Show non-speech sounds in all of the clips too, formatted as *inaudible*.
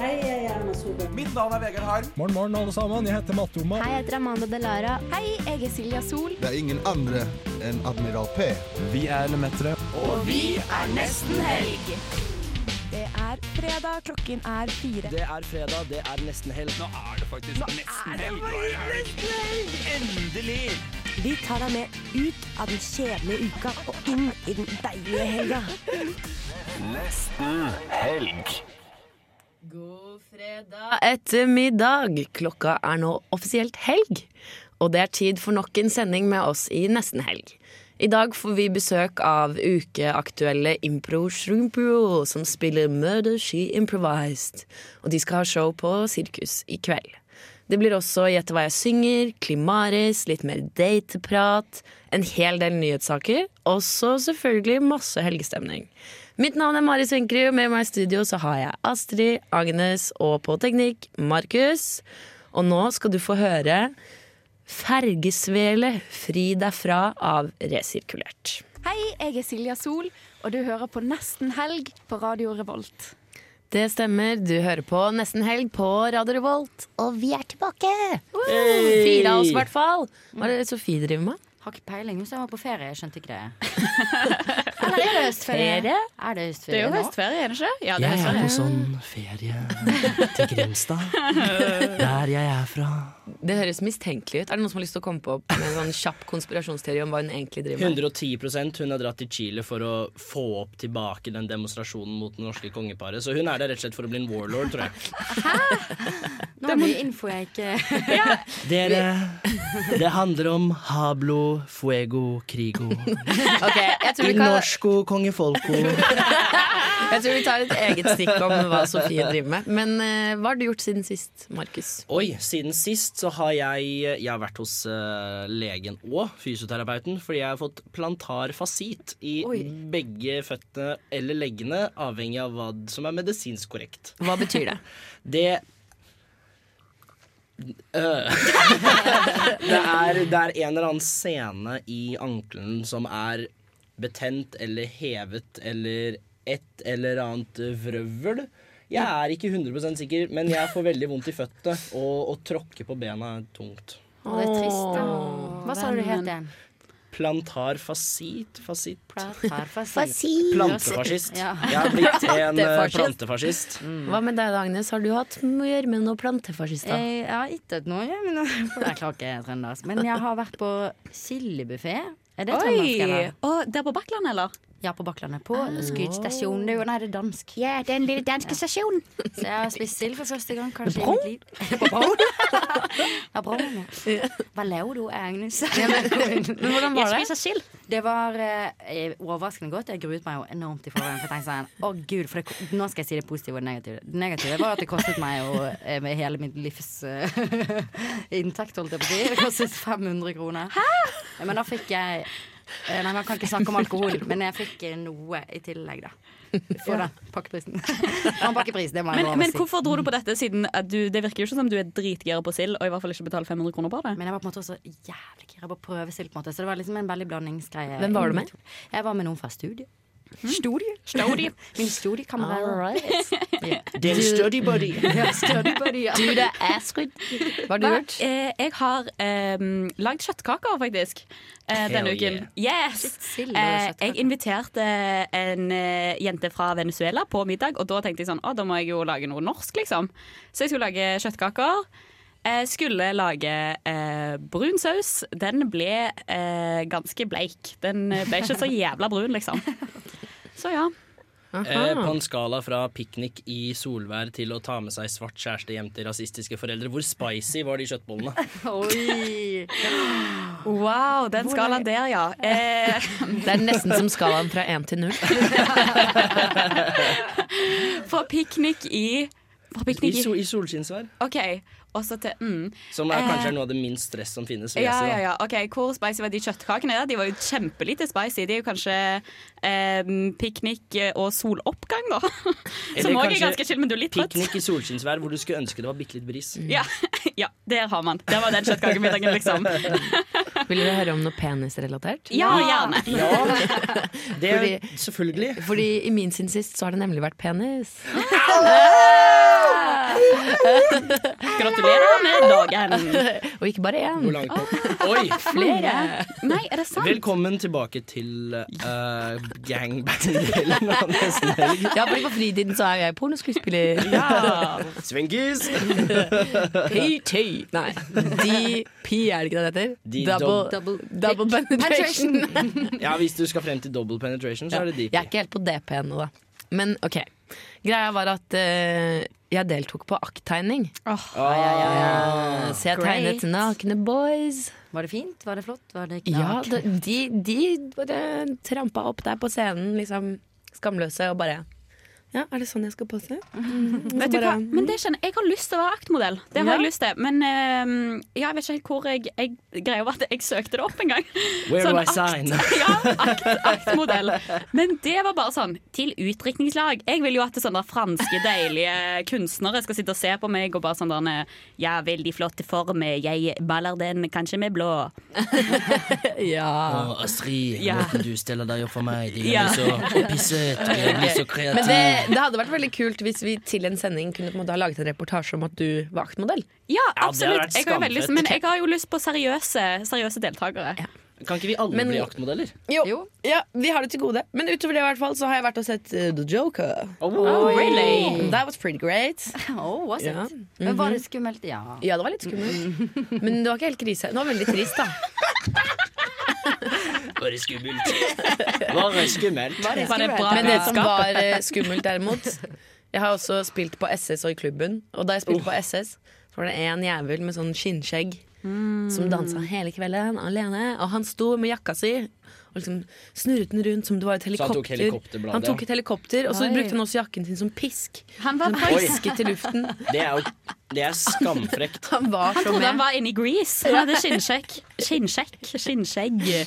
Hei, jeg er Erna Solberg. Mitt navn er Vegard Harm. Morgen, morgen, alle sammen. Jeg heter Matte Oma. Hei, jeg heter Amanda Delara. Hei, jeg er Silja Sol. Det er ingen andre enn Admiral P. Vi er Lemetere. Det er fredag, klokken er fire. Det er fredag, det er nesten helg. Nå er det faktisk nesten helg. Endelig! Vi tar deg med ut av den kjedelige uka og inn i den deilige helga. God fredag ettermiddag. Klokka er nå offisielt helg, og det er tid for nok en sending med oss i Nesten helg. I dag får vi besøk av ukeaktuelle Impro Shroompool, som spiller Murder She Improvised, og de skal ha show på Sirkus i kveld. Det blir også Gjette hva jeg synger, Klimaris, litt mer dateprat, en hel del nyhetssaker, og så selvfølgelig masse helgestemning. Mitt navn er Mari Svenkerud, og med meg i studio så har jeg Astrid, Agnes og på teknikk Markus. Og nå skal du få høre Fergesvele fri deg fra av resirkulert. Hei, jeg er Silja Sol, og du hører på Nesten helg på Radio Revolt. Det stemmer, du hører på Nesten Helg på Radio Revolt, og vi er tilbake! Fire av oss i hvert fall. Hva er det Sofie driver med? Har ikke peiling. Hvis jeg var på ferie, jeg skjønte ikke *laughs* det. Eller er det høstferie? Ferie? Er det Det høstferie er jo nå? høstferie, er det ikke? Ja, det er Jeg er høstferie. på sånn ferie til Grimstad. Der jeg er fra. *laughs* Det høres mistenkelig ut. Er det noen som har lyst til å komme på med en sånn kjapp konspirasjonsteori om hva hun egentlig driver med? 110 Hun har dratt til Chile for å få opp tilbake den demonstrasjonen mot det norske kongeparet. Så hun er der rett og slett for å bli en warlord, tror jeg. Nå er det mye info jeg ikke *laughs* Dere, det handler om hablo, fuego, *laughs* krigo. Ok, jeg tror vi Il kan norsko, kongefolko. Jeg tror vi tar et eget stikk om hva Sofie driver med. Men eh, hva har du gjort siden sist, Markus? Oi, siden sist så har jeg, jeg har vært hos eh, legen og fysioterapeuten fordi jeg har fått plantar fasit i begge føttene eller leggene, avhengig av hva som er medisinsk korrekt. Hva betyr det? Det Øh. *laughs* det, er, det er en eller annen scene i ankelen som er betent eller hevet eller et eller annet vrøvl. Jeg er ikke 100 sikker, men jeg får veldig vondt i føttene. Og å tråkke på bena er tungt. Å, det er trist. da. Hva sa du det het igjen? Plantar fasit fasit Fasit. Plantefascist. Ja. Mm. Jeg har *laughs* blitt en eh, Plantefascist. plantefascist. Hva med deg da, Agnes? Har du hatt mye å gjøre med noen plantefascister? Jeg har ikke hatt noe, men for jeg klarer ikke trøndersk. Men jeg har vært på sildebuffé. Er det trøndersk, Oi! eller? Og det er på Bakkland, eller? Ja, på Bakklandet. På Skutstasjonen. Det er jo Nei, det er dansk. Ja, den lille danske stasjonen. Så jeg har spist sild for første gang kanskje i mitt liv. *laughs* Ja, bra. Anne. Hva ler du, Agnes? Men hvordan *laughs* var det? spiser sild. Det var eh, overraskende godt. Jeg gruet meg jo enormt i forveien. For jeg tenkte sånn, å gud, for det, nå skal jeg si det positive og det negative. Det negative var at det kostet meg jo eh, med hele mitt livs eh, inntekt, holdt jeg på å si. Det kostet 500 kroner. Hæ? Men da fikk jeg eh, Nei, man kan ikke snakke om alkohol, men jeg fikk eh, noe i tillegg, da. For den pakkeprisen. For en pakkepris, det må jeg Men, lov men å si. hvorfor dro du på dette, siden at du, det virker jo ikke som du er dritgira på sild, og i hvert fall ikke betaler 500 kroner på det? Men jeg var på en måte også jævlig gira på å prøve sild, på en måte. Så det var liksom en veldig blandingsgreie. Hvem var du med? Jeg var med noen fra studiet. Studie? *laughs* Min studiekamerat. Del study buddy. *laughs* Du, det er skudd. Hva har du gjort? Eh, jeg har eh, lagd kjøttkaker, faktisk, eh, denne Hell uken. Yes! sild og Eh, kjøttkaker. jeg inviterte en eh, jente fra Venezuela på middag, og da tenkte jeg sånn, å, da må jeg jo lage noe norsk, liksom. Så jeg skulle lage kjøttkaker. Jeg skulle lage eh, brun saus. Den ble eh, ganske bleik. Den ble ikke så jævla brun, liksom. Så ja. Eh, på en skala fra piknik i solvær til å ta med seg svart kjæreste hjem til rasistiske foreldre, hvor spicy var de kjøttbollene? Oi! Wow, den skalaen der, ja. Eh, *laughs* Det er nesten som skalaen fra 1 til 0. Fra Eh, piknik i Fra piknik I, i so I solskinnsvær? OK. Og så til mm. Som er kanskje Eh. er noe av det minst stress som finnes. vil jeg Ja, si, da. ja, ja. Ok, Hvor spicy var de kjøttkakene? da? De var jo kjempelite spicy. De er jo kanskje eh, piknik og soloppgang, da. Som òg er kanskje ganske chill, men du er litt trøtt. Mm. Piknik i solskinnsvær hvor du skulle ønske det var bitte litt bris. Ja, *laughs* ja, der har man. Der var den kjøttkakemiddagen, *laughs* liksom. Vil dere høre om noe penisrelatert? Ja, gjerne. Ja, det er Fordi- selvfølgelig. Fordi i min sin sist så har det nemlig vært penis. Gratulerer med dagen. Og ikke bare én. Hvor langt opp? Oi! Flere. Nei, er det sant? Velkommen tilbake til uh, gangbang-delen av Nesten Helg. Ja, fordi på fritiden så er jeg pornoskuespiller. *laughs* Ja. *laughs* Svingis! PT. Nei, DP er det ikke det det heter? D- double, double penetration. Ja, hvis du skal frem til double penetration, så er det Jeg er deep. ikke helt på DP ennå, da. Men OK. Greia var at eh, jeg deltok på akttegning. Ah. Eh, så jeg Great. tegnet nakne boys. Var det fint? Var det flott? Var det Ja, da- de, de bare trampa opp der på scenen, liksom skamløse, og bare Ja, er det sånn jeg skal pose? *laughs* mm. Vet du hva? Men det kjenner jeg. Jeg har lyst til å være aktmodell. Det har Ja. jeg lyst til. Men eh, ja, jeg vet ikke helt hvor jeg, jeg greier over at jeg søkte det opp en gang. Where do Sånn I sign? Ja, akt, aktmodell. Men det var bare sånn til utdrikningslag. Jeg vil jo at sånne franske, deilige kunstnere skal sitte og se på meg og bare sånn der Ja, veldig flott form. Jeg baller den kanskje med blå. Ja. Å, Astrid, Ja. du steller deg opp for meg. Det Ja. så opphisset. Jeg blir så *laughs* Men det, det hadde vært veldig kult hvis vi til en sending kunne på en måte ha laget en reportasje om at du var aktmodell. Ja, hadde absolutt. vært Jeg har jo veldig, lyst- men skamfett. jeg har jo lyst på seriøse, seriøse deltakere. Kan ikke vi alle Men- bli aktmodeller? Jo, Ja, vi har det til gode. Men utover det i hvert fall så har jeg vært og sett eh, The Joker. Oh, Really? That was pretty great. *laughs* Oh, was it? Ja. Mhm. Men Var det skummelt? Ja. Ja, det var litt skummelt. *laughs* Men det var ikke helt krise. Det var veldig trist, da. Bare skummelt. *laughs* Bare skummelt. Var det bra Men det som budskap? var eh, skummelt, derimot Jeg har også spilt på SS og i klubben. Og da jeg spilte Oh. på SS, så var det en jævel med sånn skinnskjegg som dansa Mm. hele kvelden alene. Og han sto med jakka si og liksom snurret den rundt som det var et Så han tok helikopter. helikopterbladet, Han tok et helikopter, og så Oi. brukte han også jakken sin som pisk. Han var Han faktisk pisket i luften. *laughs* Det er jo det er skamfrekt. *laughs* Han var Han så trodde han med. var inne i Grease. Han hadde skinnsjekk, skinnsjekk, skinnskjegg,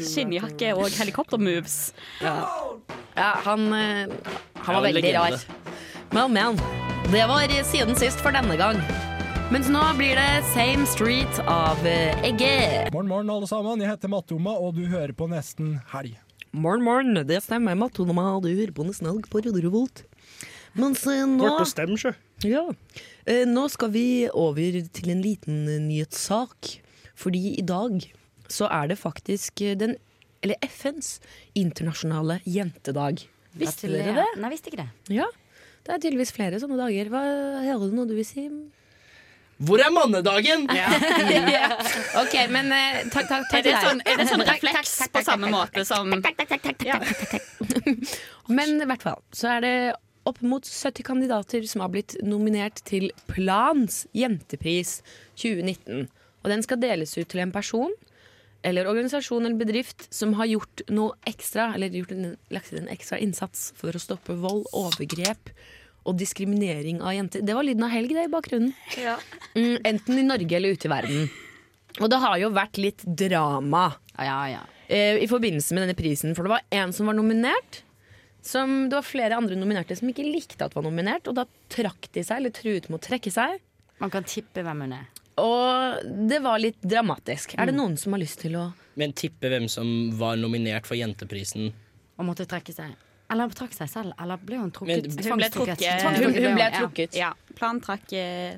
skinnjakke og helikoptermoves. Ja, han, eh, han var Ja, veldig legende. rar. Well, man. Det var siden sist for denne gang. Mens nå blir det Same Street av eh, Egge. Morgen, morgen, alle sammen. Jeg heter Mattoma, og du hører på Nesten Helg. Morgen, morgen. Det stemmer, Matonoma. Du hører på nesten alt på Rodervolt. Mens eh, nå stemmer, sjø. ja, eh, Nå skal vi over til en liten eh, nyhetssak. Fordi i dag så er det faktisk eh, den Eller FNs internasjonale jentedag. Visste dere det? Nei, visste ikke det. Ja. Det er tydeligvis flere sånne dager. Hva Hører du noe du vil *laughs* si? Hvor er mannedagen? OK, men eh, takk, takk, takk Er det til deg. sånn, er det sånn refleks på samme måte som ja. Men i hvert fall så er det opp mot 70 kandidater som har blitt nominert til Plans jentepris 2019. Og den skal deles ut til en person eller organisasjon eller bedrift som har gjort noe ekstra, eller gjort en, lagt inn en ekstra innsats for å stoppe vold, overgrep og diskriminering av jenter. Det var lyden av helg det i bakgrunnen. Mm, enten i Norge eller ute i verden. Og det har jo vært litt drama Ja, ja. eh, i forbindelse med denne prisen. For det var en som var nominert. Som, det var flere andre nominerte som ikke likte at var nominert, og da trakk de seg, eller truet med å trekke seg. Man kan tippe hvem hun er. Mm. Og det var litt dramatisk. Er det noen som har lyst til å *laughs* Men tippe hvem som var nominert for Jenteprisen. Og måtte trekke seg. Eller hun trakk seg selv. Eller ble hun Men- Hun trukket? ble Tvangstrukket. trukket. Hun, Tvangstrukket, hun ble ja. trukket. ja. Plan trakk eh,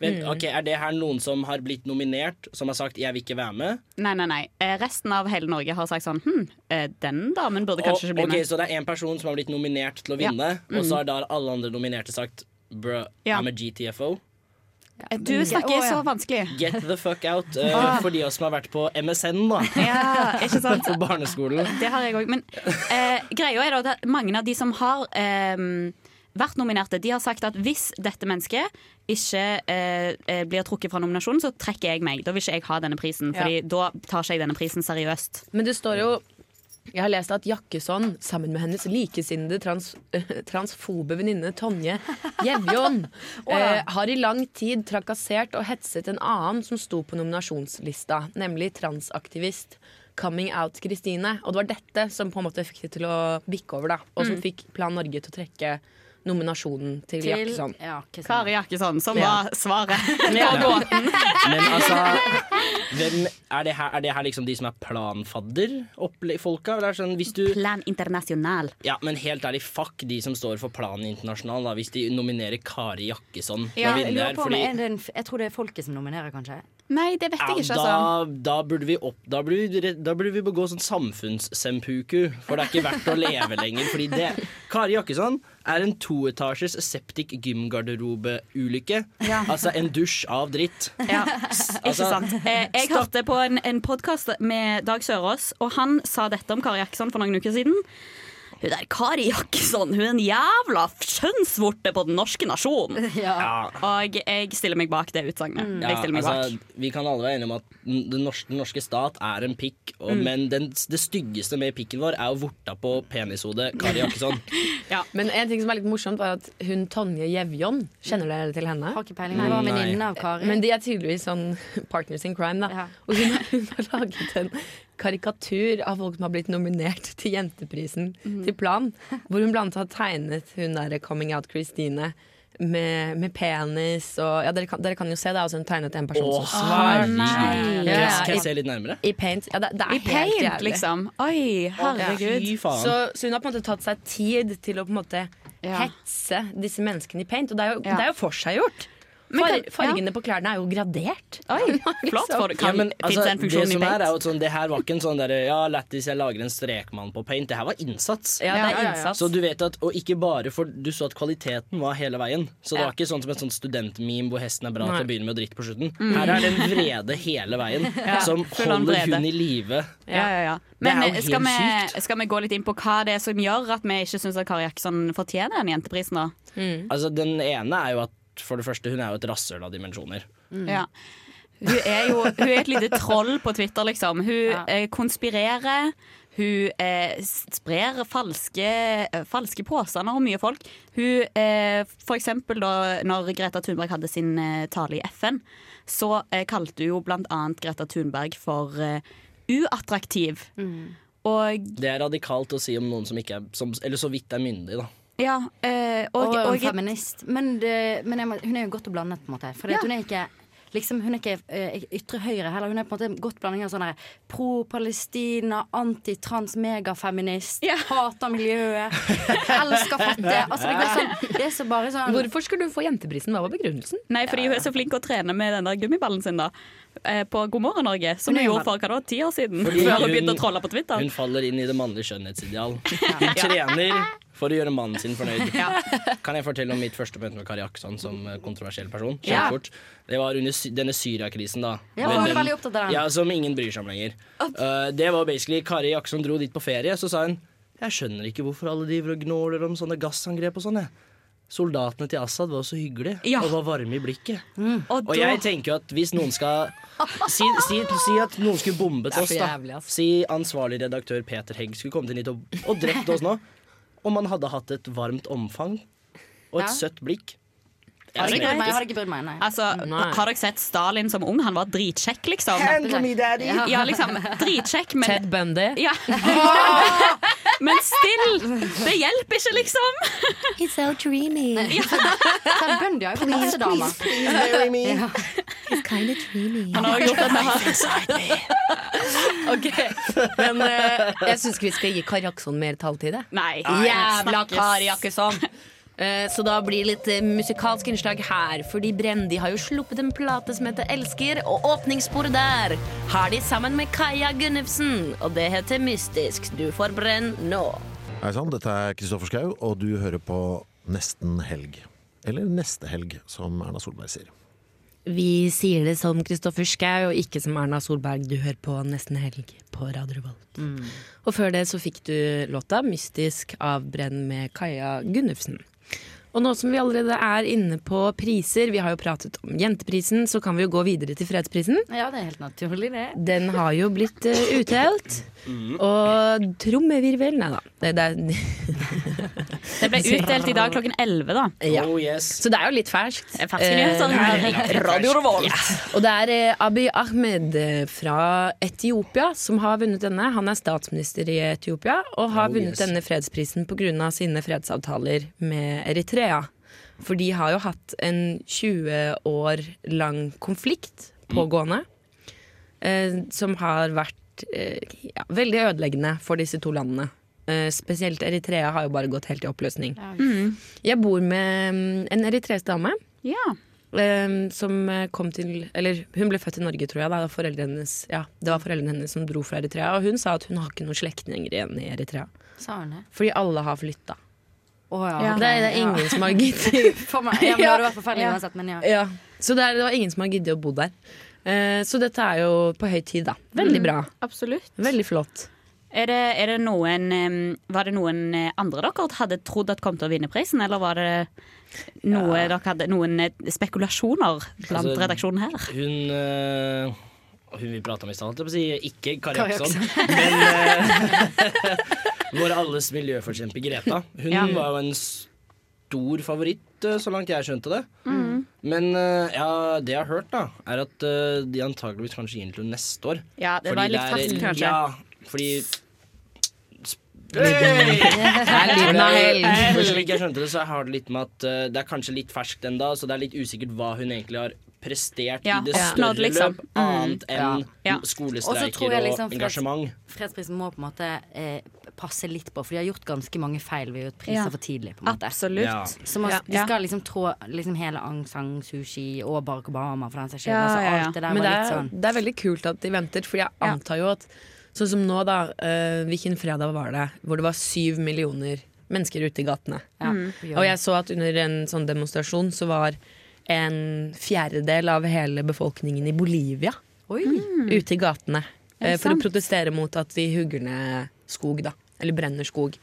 Men, Mm. ok, Er det her noen som har blitt nominert, som har sagt 'jeg vil ikke være med'? Nei, nei, nei. Eh, Resten av hele Norge har sagt sånn Hm, eh, den damen Og, burde kanskje ikke bli ok, med. Så det er én person som har blitt nominert til å Ja. vinne, og Mm. så har da alle andre nominerte sagt 'bro, Ja. I'm a GTFO'. Eh, Du Å, snakker ja. så vanskelig. Get the fuck out. eh, Ah. For de av oss som har vært på MSN, da. Ja, *laughs* ikke sant? På barneskolen. Det har jeg òg. Men eh, greia er da at mange av de som har eh, vært nominerte, de har sagt at hvis dette mennesket ikke eh, eh, blir trukket fra nominasjonen, så trekker jeg meg. Da vil ikke jeg ha denne prisen, Fordi da tar ikke jeg denne prisen seriøst. Men det står jo Jeg har lest at Jakkesson sammen med hennes likesinnede trans, eh, transfobe venninne Tonje Jevjon eh, har i lang tid trakassert og hetset en annen som sto på nominasjonslista, nemlig transaktivist Coming Out Kristine. Og det var dette som på en måte fikk det til å bikke over, da, og som fikk Plan Norge til å trekke nominasjonen til, Jakkesson. ja, hva sa Kari Jakkesson, som Ja. var svaret på gåten. Men altså hvem, er, det her, er det her liksom de som er planfadder-folka? Eller er det sånn, hvis du Plan Internasjonal. Ja, men helt ærlig, fuck de som står for planen internasjonal, da, hvis de nominerer Kari Jakkesson til å Ja, jeg, vinne lurer her. på om Fordi er det en, f- jeg tror det er folket som nominerer, kanskje. Nei, det vet ja, jeg ikke, altså. da, da, burde vi opp, da, burde vi, re- da burde vi begå sånn samfunnssempuku, for det er ikke verdt å leve lenger. Fordi det Kari Jakkesson er en toetasjes septik gymgarderobeulykke. Altså en dusj av dritt. *laughs* Ja, ikke altså- sant. Eh, jeg hørte på en, en podkast med Dag Sørås, og han sa dette om Kari Jakkesson for noen uker siden. Hun der Kari Jakkesson, hun er en jævla kjønnsvorte på den norske *laughs* nasjonen. Og jeg stiller meg bak det utsagnet. Ja, Jeg stiller meg altså, bak. vi kan alle være enige om at den den norske, den norske stat er en pikk, og, Mm. men den, det styggeste med pikken vår er jo vorta på penishodet Kari Jakkesson. Men en ting som er litt morsomt, var at hun Tonje Jevjon Kjenner dere til henne? Har ikke peiling. Det var Mm, Nei. venninnen av Kari. Men de er tydeligvis sånn *laughs* partners in crime, da. Ja. Og hun har, hun har laget en karikatur av folk som har blitt nominert til Jenteprisen til Plan. Hvor hun blant annet har tegnet hun derre Coming Out Christine med, med penis og Ja, dere kan, dere kan jo se, det er altså hun tegnet en person som svar. nei. Kan jeg- Ja, Kan i, jeg se litt nærmere? I paint. Ja, det, det er I helt paint, jævlig. liksom. Oi, herregud. Fy faen. Så, så hun har på en måte tatt seg tid til å på en måte hetse disse menneskene i paint. Og det er jo, Ja. det er jo forseggjort. Men Far, kan- ja. fargene på klærne er jo gradert. Oi, *laughs* flott. Liksom. For, Ja, kan, men, altså, finnes det en det funksjon i som er, paint? er jo sånn, det her var ikke en sånn derre Ja, lættis, jeg lager en strekmann på paint. Det her var innsats. Ja, Ja, det ja, er ja. innsats. Så du vet at, og ikke bare for Du så at kvaliteten var hele veien. Så det Ja. var ikke sånn som et sånt studentmeme hvor hesten er bra til Nei. å begynne med å dritte på slutten. Her er det en vrede hele veien *laughs* som Mm. full on holder hun vrede. i live. Ja, ja, ja. er Men eh, jo helt skal vi, sykt. skal vi gå litt inn på hva det er som gjør at vi ikke syns Kari Jakkesson fortjener den jenteprisen? da? Altså, den ene er jo at for det første, hun er jo et rasshøl av dimensjoner. Mm. Ja. Hun er jo hun er et lite troll på Twitter, liksom. Hun eh, konspirerer. Hun eh, s- sprer falske, eh, falske påstander om mye folk. Hun, eh, for eksempel da når Greta Thunberg hadde sin eh, tale i FN, så eh, kalte hun jo blant annet Greta Thunberg for eh, uattraktiv. Og Det er radikalt å si om noen som ikke er som, Eller så vidt er myndig, da. ja, eh, Og, og, og, og, feminist. Men, det, men jeg, må- hun er jo godt og blandet, på en måte. For hun er ikke Liksom, hun er ikke eh, ytre høyre heller. Hun er på en måte en godt blanding av sånn her pro-Palestina, antitrans, megafeminist, hater miljøet, elsker fattige. Altså, det, går sånn, det er så bare sånn Hvorfor skulle hun få jenteprisen? Hva var begrunnelsen? Nei, fordi hun er så flink å trene med den der gummiballen sin da eh, på God morgen Norge, som hun gjorde for hva da, ti år siden, Fordi før hun hun- begynte å trolle på Twitter. Hun faller inn i det mannlige *laughs* skjønnhetsideal. Hun trener for å gjøre mannen sin fornøyd. Kan jeg fortelle om mitt første møte med Kari Aksan som eh, kontroversiell person? Ja. Kjempefort. Det var under sy denne Syria-krisen, da. Ja, Men hun var veldig opptatt av den. Ja, altså- Som ingen bryr seg om lenger. Eh, det var basically Kari Aksan dro dit på ferie, så sa hun Jeg skjønner ikke hvorfor alle driver og gnåler om sånne gassangrep og sånn, jeg. Soldatene til Assad var så hyggelige Ja. og var varme i blikket. Mm. Og, Og da, jeg tenker jo at hvis noen *laughs* skal Si, si, si at noen skulle bombet er oss, for da. jævlig, ass. Si ansvarlig redaktør Peter Hegg skulle kommet inn hit og, og drept oss nå. Om han hadde hatt et varmt omfang og et søtt blikk. Altså, Jeg hadde Jeg ikke brydd meg. vet Jeg ikke. hadde ikke brydd meg, nei. altså, Nei. har dere sett Stalin som ung? Han var dritkjekk, liksom. Ja. Ja, liksom, dritkjekk, men Ted Bundy. ja. *laughs* Men still, det hjelper ikke, *laughs* liksom. He's so dreamy. *laughs* Ted Bundy har jo vært hessedama. He's kind of dreamy. Han har jo gjort at vi har Ok, Men eh, jeg syns ikke vi skal gi Kari Akson mer taletid. jeg. Nei. *laughs* Jævla snakkes. Kari Jakkesson! Eh, Så da blir det litt eh, musikalsk innslag her, fordi Brendi har jo sluppet en plate som heter Elsker, og åpningssporet der har de sammen med Kaja Gunnufsen, og det heter Mystisk. Du får brenn nå. Hei sann, dette er Kristoffer Schau, og du hører på Nesten helg. Eller Neste helg, som Erna Solberg sier. Vi sier det som Kristoffer Schau, og ikke som Erna Solberg. Du hører på Nesten Helg på Radio Revolt. Og før det så fikk du låta 'Mystisk' av Brenn med Kaja Gunnufsen. Og nå som vi allerede er inne på priser, vi har jo pratet om jenteprisen, så kan vi jo gå videre til fredsprisen. Ja, det er helt naturlig, det. Den har jo blitt eh, utdelt. Og trommevirvel Nei da. Det, det, Det ble utdelt i dag klokken 11, da. ja. Så det er jo litt ferskt. Ferske nyheter. Eh, *laughs* her. Radio Revolt. Og det er eh, Abiy Ahmed eh, fra Etiopia som har vunnet denne. Han er statsminister i Etiopia og har Oh, vunnet yes. denne fredsprisen pga. sine fredsavtaler med Eritrea. For de har jo hatt en 20 år lang konflikt pågående eh, som har vært eh, ja, veldig ødeleggende for disse to landene. Eh, spesielt Eritrea har jo bare gått helt i oppløsning. Jeg bor med mm, en eritreisk dame Ja. eh, som eh, kom til Eller hun ble født i Norge, tror jeg. Da, og foreldrene hennes, ja, det var foreldrene hennes som dro fra Eritrea. Og hun sa at hun har ikke noen slektninger igjen i Eritrea. Sa hun det? Fordi alle har flytta. Å ja. Det, er- det er ingen som har giddet. For meg. Ja, *laughs* men det hadde vært forferdelig Ja. uansett, men ja. ja. Så det, er, det var ingen som har giddet å bo der. Eh, så dette er jo på høy tid, da. Veldig bra. Absolutt. Veldig flott. Er det, er det noen, em, var det noen eh, andre dere hadde trodd at kom til å vinne prisen, eller var det noe dere hadde, noen eh, spekulasjoner blant Altså, redaksjonen her? Hun eh, Hun vi prata om i stad, holdt jeg på å si, ikke Kari Kari Jaksson, men eh, *laughs* vår alles miljøforkjemper Greta. Hun Ja. var jo en stor favoritt, eh, så langt jeg skjønte det. mm. Men eh, ja, det jeg har hørt, da, er at eh, de antageligvis kanskje gir den til henne neste år. Ja, det var litt ferskt, kanskje. Ja, fordi Hey! Det er lyden av helg. Men slik jeg skjønte det, så har det litt med at eh, det er kanskje litt ferskt enda, så det er litt usikkert hva hun egentlig har prestert Ja, i det oppnådd, større liksom. løp, annet enn Ja. Og så tror skolestreiker jeg og liksom for at- engasjement. Fredsprisen må på en måte eh, passe litt på, for de har gjort ganske mange feil ved å gi ut priser Ja. for tidlig. på en måte Absolutt. Ja. Så man, Ja. De skal liksom trå liksom hele Aung San Suu Kyi og Barack Obama for den saks skyld. Ja, altså, ja, ja. alt det der Men det var litt er, sånn det er veldig kult at de venter, Fordi jeg antar jo at Sånn som nå, da. eh, hvilken fredag var det? Hvor det var syv millioner mennesker ute i gatene. ja, Og jeg så at under en sånn demonstrasjon så var en fjerdedel av hele befolkningen i Bolivia Oi! ute i gatene Er eh, det for sant? å protestere mot at de hugger ned skog, da. Eller brenner skog.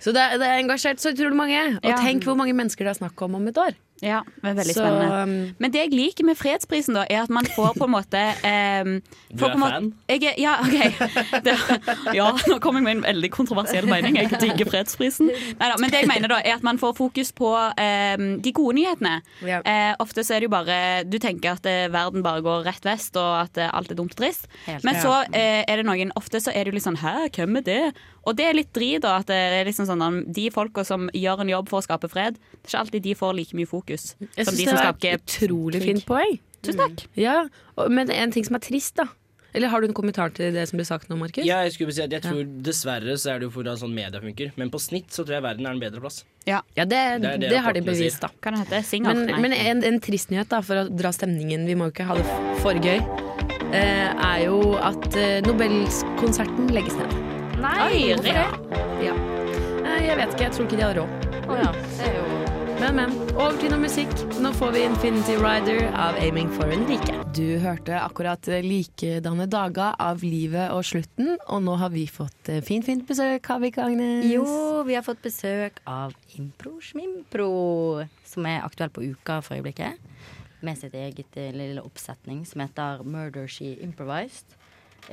Så det, er- det er engasjert så utrolig mange. Og Ja. tenk hvor mange mennesker det er snakk om om et år. Ja, det er veldig Så, um, spennende. Men det jeg liker med fredsprisen, da, er at man får på en måte em, Du får er på en måte- fan? Jeg er, ja, OK. Det, ja, nå kom jeg med en veldig kontroversiell mening. Jeg digger fredsprisen. Neida, men det jeg mener, da, er at man får fokus på em, de gode nyhetene. Ja. Eh, ofte så er det jo bare Du tenker at eh, verden bare går rett vest, og at eh, alt er dumt og trist. Helt Men klart. så eh, er det noen Ofte så er det jo litt sånn Hæ, hvem er det? Og det er litt drit, da. At det er liksom sånn at de folka som gjør en jobb for å skape fred, det er ikke alltid de får like mye fokus Jeg som syns de det som var et skaper utrolig krig. fint poeng. Mm. Tusen takk. Ja, og, Men en ting som er trist, da. Eller har du en kommentar til det som ble sagt nå, Markus? Ja, jeg skulle bare si at jeg tror dessverre så er det jo hvordan sånn media funker, men på snitt så tror jeg verden er en bedre plass. Ja, det, Det er det, det har de rapportene bevist, sier. da. Kan det hete Singer? Men, Nei. men en, en trist nyhet, da, for å dra stemningen Vi må jo ikke ha det f- for gøy. eh, er jo at eh, Nobelskonserten legges ned. Oi, hvorfor ja. Ja. Nei, jeg vet ikke. Jeg tror ikke de har råd. Å ja, det er jo Men, men. Over til noe musikk. Nå får vi Infinity Rider av Aiming for en rike. Du hørte akkurat Likedanne dager av Livet og Slutten, og nå har vi fått eh, fint, fint besøk, har vi ikke, Agnes? Jo, vi har fått besøk av Impro Smimpro, som er aktuell på Uka for øyeblikket. Med sitt eget eh, lille oppsetning som heter Murder She Improvised.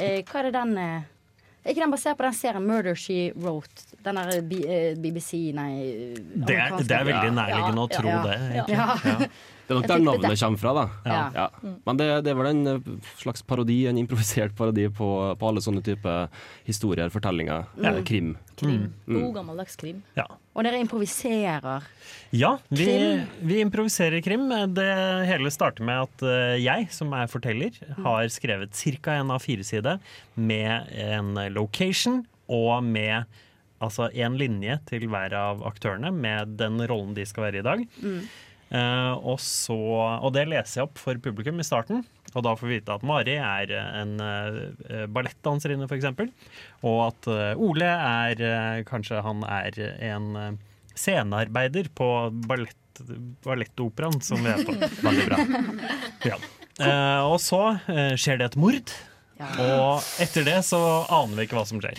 Eh, hva er det den eh, Er ikke den basert på den serien Murder She Wrote? Den der eh, B eh, BBC, nei eh, Det er, amerikanske- det er veldig nærliggende å Ja, tro ja, det. egentlig. Ja. Det er nok Jeg tenkte der navnet kommer fra, da. Ja. Ja. Men det, det er vel en eh, slags parodi, en improvisert parodi på, på alle sånne typer historier, fortellinger, Mm. eh, krim. Mm. Mm. God gammeldags krim. Ja. Og dere improviserer. Ja, vi, Krim. vi improviserer krim. Det hele starter med at eh, jeg, som er forteller, har skrevet ca. en A4-side med en location og med altså en linje til hver av aktørene med den rollen de skal være i dag. Eh, og, så, og det leser jeg opp for publikum i starten. Og da får vi vite at Mari er eh, en uh, ballettdanserinne, f.eks. Og at eh, Ole er eh, Kanskje han er en eh, scenearbeider på ballett, ballettoperaen som vi er på. Veldig bra. Ja. Eh, og så eh, skjer det et mord. Og etter det så aner vi ikke hva som skjer.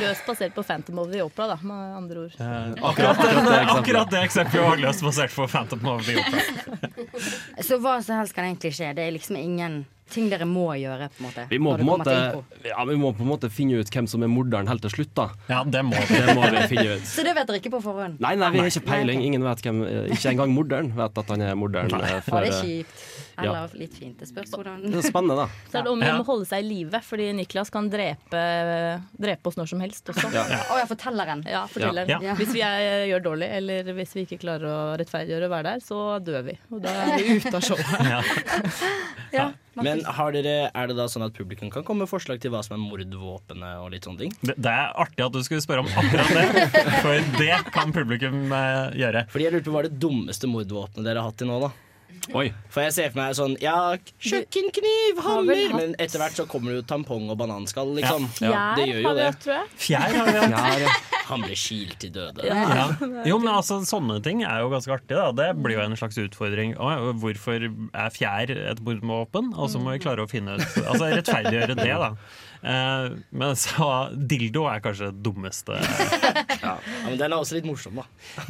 Løst basert på Phantom of the Opera, da, med andre ord. Eh, akkurat, akkurat det eksempelet var løst basert på Phantom of the Opera. Så hva som helst kan egentlig skje. Det er liksom ingen ting dere må gjøre. på en måte Vi må, når på det kommer en måte, til info. ja, vi må på en måte finne ut hvem som er morderen helt til slutt, da. Ja, det må vi, finne ut. Så det vet dere ikke på forhånd? Nei, nei, vi har ikke Nei, ok. peiling. Ingen vet hvem, eh, ikke engang morderen vet at han er morderen. eh, Ja, det er eh, kjipt. Eller litt fint. Det spørs hvordan Det er spennende, da. Så er det om å Ja. holde seg i live, fordi Niklas kan drepe, drepe oss når som helst også. Ja. Ja. Å ja, fortelleren. Ja, fortelleren. Ja. Ja. Hvis vi er, gjør dårlig, eller hvis vi ikke klarer å rettferdiggjøre å være der, så dør vi. Og da er vi *laughs* ute av showet. Men har dere, er det da sånn at publikum kan komme med forslag til hva som er mordvåpenet og litt sånne ting? Det, det er artig at du skulle spørre om akkurat det, for det kan publikum eh, gjøre. Fordi jeg lurte på hva er det dummeste mordvåpenet dere har hatt til nå, da? Oi. For jeg ser for meg sånn Ja, kjøkkenkniv, Har vel hammer hatt- Men etter hvert så kommer det jo tampong og bananskall, liksom. Fjær Det gjør jo har vi det. hatt, tror jeg. Fjær har vi hatt. Fjær, Han ble kilt til døde. *laughs* Ja. Jo, men altså, Sånne ting er jo ganske artig. da Det blir jo en slags utfordring. Å, ja, Hvorfor er fjær et mordvåpen? Og så må vi klare å finne ut Altså rettferdiggjøre det, da. Eh, men så dildo er kanskje det dummeste. Ja, men Den er også litt morsom, da.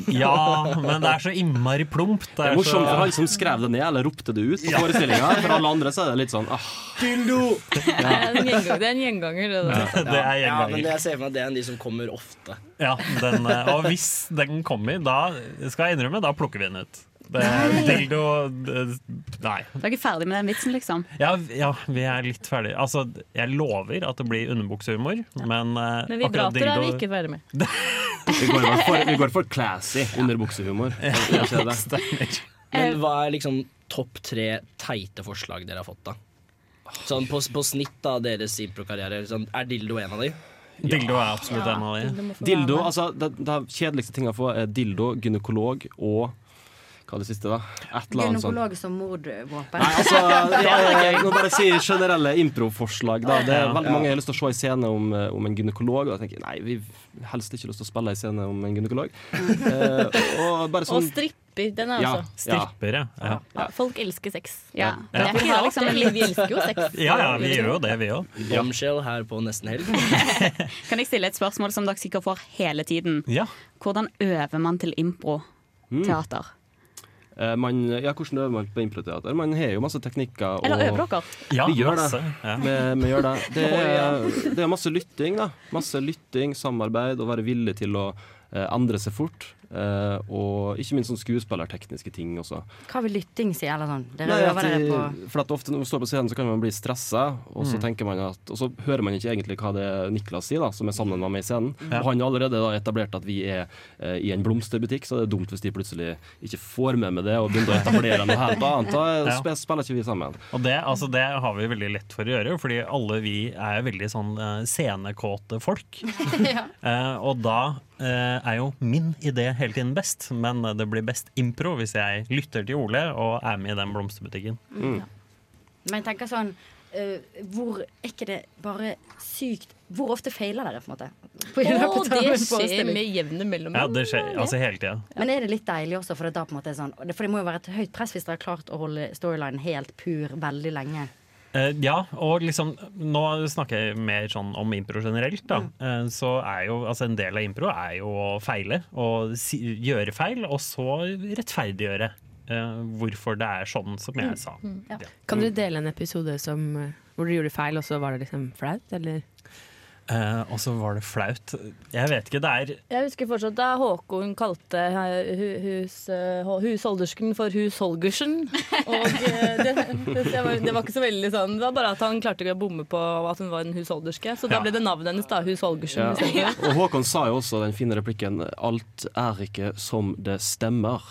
Ja, men det er så innmari plumpt. Det er morsomt for han så... som skrev det ned, eller ropte det ut på Ja. forestillinga. For alle andre så er det litt sånn ah. Dildo! Det er en gjenganger. Det er en gjenganger det der. Ja, men jeg ser for meg at det er en de som kommer ofte. ja, den, *laughs* eh, Og hvis den kommer, da skal jeg innrømme, da plukker vi den ut. Det, dildo det, Nei. Du er ikke ferdig med den vitsen, liksom. Ja, ja, vi er litt ferdige. Altså, jeg lover at det blir underbuksehumor, men eh, Men vi akkurat prater er vi dildo- ikke ferdig med. Vi går for, vi går for classy underbuksehumor. Ja, Kanskje det. Men hva er liksom topp tre teite forslag dere har fått, da? Sånn på, på snitt av deres improkarriere, sånn, er dildo en av de? *laughs* Dildo er absolutt en av de. Dildo, altså Det, det kjedeligste tinga å få er dildo, gynekolog og Hva er det siste, da? Et eller annet sånt. Gynekolog som mordvåpen. Nei, *laughs* altså, ja, jeg må bare si generelle improforslag. Da. Det er Ja. veldig mange jeg har lyst til å se i scene om, eh, om en gynekolog. Og jeg tenker, nei, vi har helst ikke lyst til å spille i scene om en gynekolog. Eh, og *laughs* bare Og sånn stripper. Den er Ja, også. altså. ja. Strippere. Ja. Ja, folk elsker sex. Ja. Det er ikke liksom rart, det. Vi elsker jo sex. *laughs* Ja, ja, vi gjør jo det, vi òg. Bombshell her på nesten helg. Kan jeg stille et spørsmål som dere sikkert får hele tiden? Ja. Hvordan øver man til Mm. impro-teater? eh, man, ja, Hvordan øver man på improteater? Man har jo masse teknikker. Eller øver dere? Ja, vi gjør masse, det. ja. Vi, vi gjør det. Det Å, er, det er masse lytting, da. Masse lytting, samarbeid, og være villig til å eh, endre seg fort. Eh, og ikke minst sånn skuespillertekniske ting også. Hva vil lytting si? Eller sånn. Dere Nei, at øver dere på de- For at ofte når man står på scenen, så kan man bli stressa, og så Mm. tenker man at Og så hører man ikke egentlig hva det er Niklas sier, da, som er sammen med meg i scenen. Ja. Og han har allerede da etablert at vi er eh, i en blomsterbutikk, så det er dumt hvis de plutselig ikke får med meg det og begynner å etablere noe helt annet. Da eh, Ja. sp- spiller ikke vi sammen. Og det, altså, det har vi veldig lett for å gjøre, fordi alle vi er veldig sånn eh, scenekåte folk. Eh, og da eh, er jo min idé hele tiden best, men eh, det blir best impro hvis jeg lytter til Ole og er med i den blomsterbutikken. Men jeg tenker sånn eh, Hvor er ikke det bare sykt Hvor ofte feiler dere, på en måte? På- i Å, løpet av det en skjer forestilling. med jevne mellomrom. Ja, det skjer altså hele tida. Men er det litt deilig også, for det, er da på en måte sånn, for det må jo være et høyt press hvis dere har klart å holde storylinen helt pur veldig *laughs* lenge. Eh, ja, og liksom Nå snakker jeg mer sånn om impro generelt, da. Mm. Eh, så er jo altså en del av impro er jo å feile, og si, gjøre feil, og så rettferdiggjøre. eh, hvorfor det er sånn som Mm. jeg sa. Mm, Ja. Kan du dele en episode som, eh, hvor dere gjorde feil, og så var det liksom flaut, eller? Eh, og så var det flaut. Jeg vet ikke, det er Jeg husker fortsatt da Håkon kalte eh, hu- hus, eh, hå- husholdersken for husholgersen. Og eh, det, det, var, det var ikke så veldig sånn. Det var bare at han klarte ikke å bomme på at hun var en husholderske. Så da Ja. ble det navnet hennes da, liksom. husholgersen. Ja. istedenfor. Og Håkon sa jo også den fine replikken 'Alt er ikke som det *laughs* stemmer'.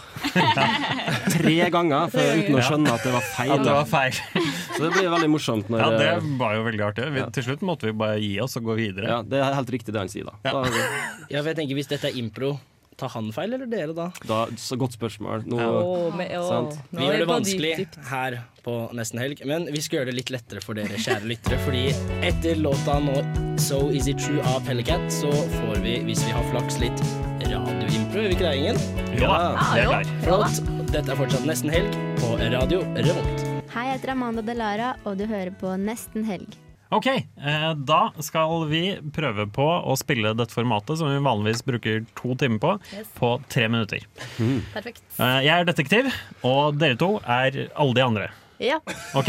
Tre ganger for, uten å Ja. skjønne at det var feil. At det da. var feil. Så det blir veldig morsomt når eh, Ja, det var jo veldig artig. Vi, Til slutt måtte vi bare gi oss og gå videre. Ja, Det er helt riktig det han sier, da. Ja. da for jeg tenker Hvis dette er impro, tar han feil, eller dere, da? Da, så godt spørsmål. Nå, Åh, men- åh. sant? Nå Vi er det gjør det på vanskelig her på nesten helg, men vi skal gjøre det litt lettere for dere, kjære lyttere. Fordi etter låta nå, 'So Is It True' av Pellecat, så får vi, hvis vi har flaks, litt radioimpro. Gjør vi ikke det, Ingen? Jo da, Ja, det er jo. klart. Flott. Dette er fortsatt Nesten helg på Radio Revolt. Hei, jeg heter Amanda Delara, og du hører på Nesten helg. Ok, eh, da skal vi prøve på å spille dette formatet som vi vanligvis bruker to timer på, Yes. på tre minutter. Mm. Perfekt. Eh, Jeg er detektiv, og dere to er alle de andre. Ja. Ok.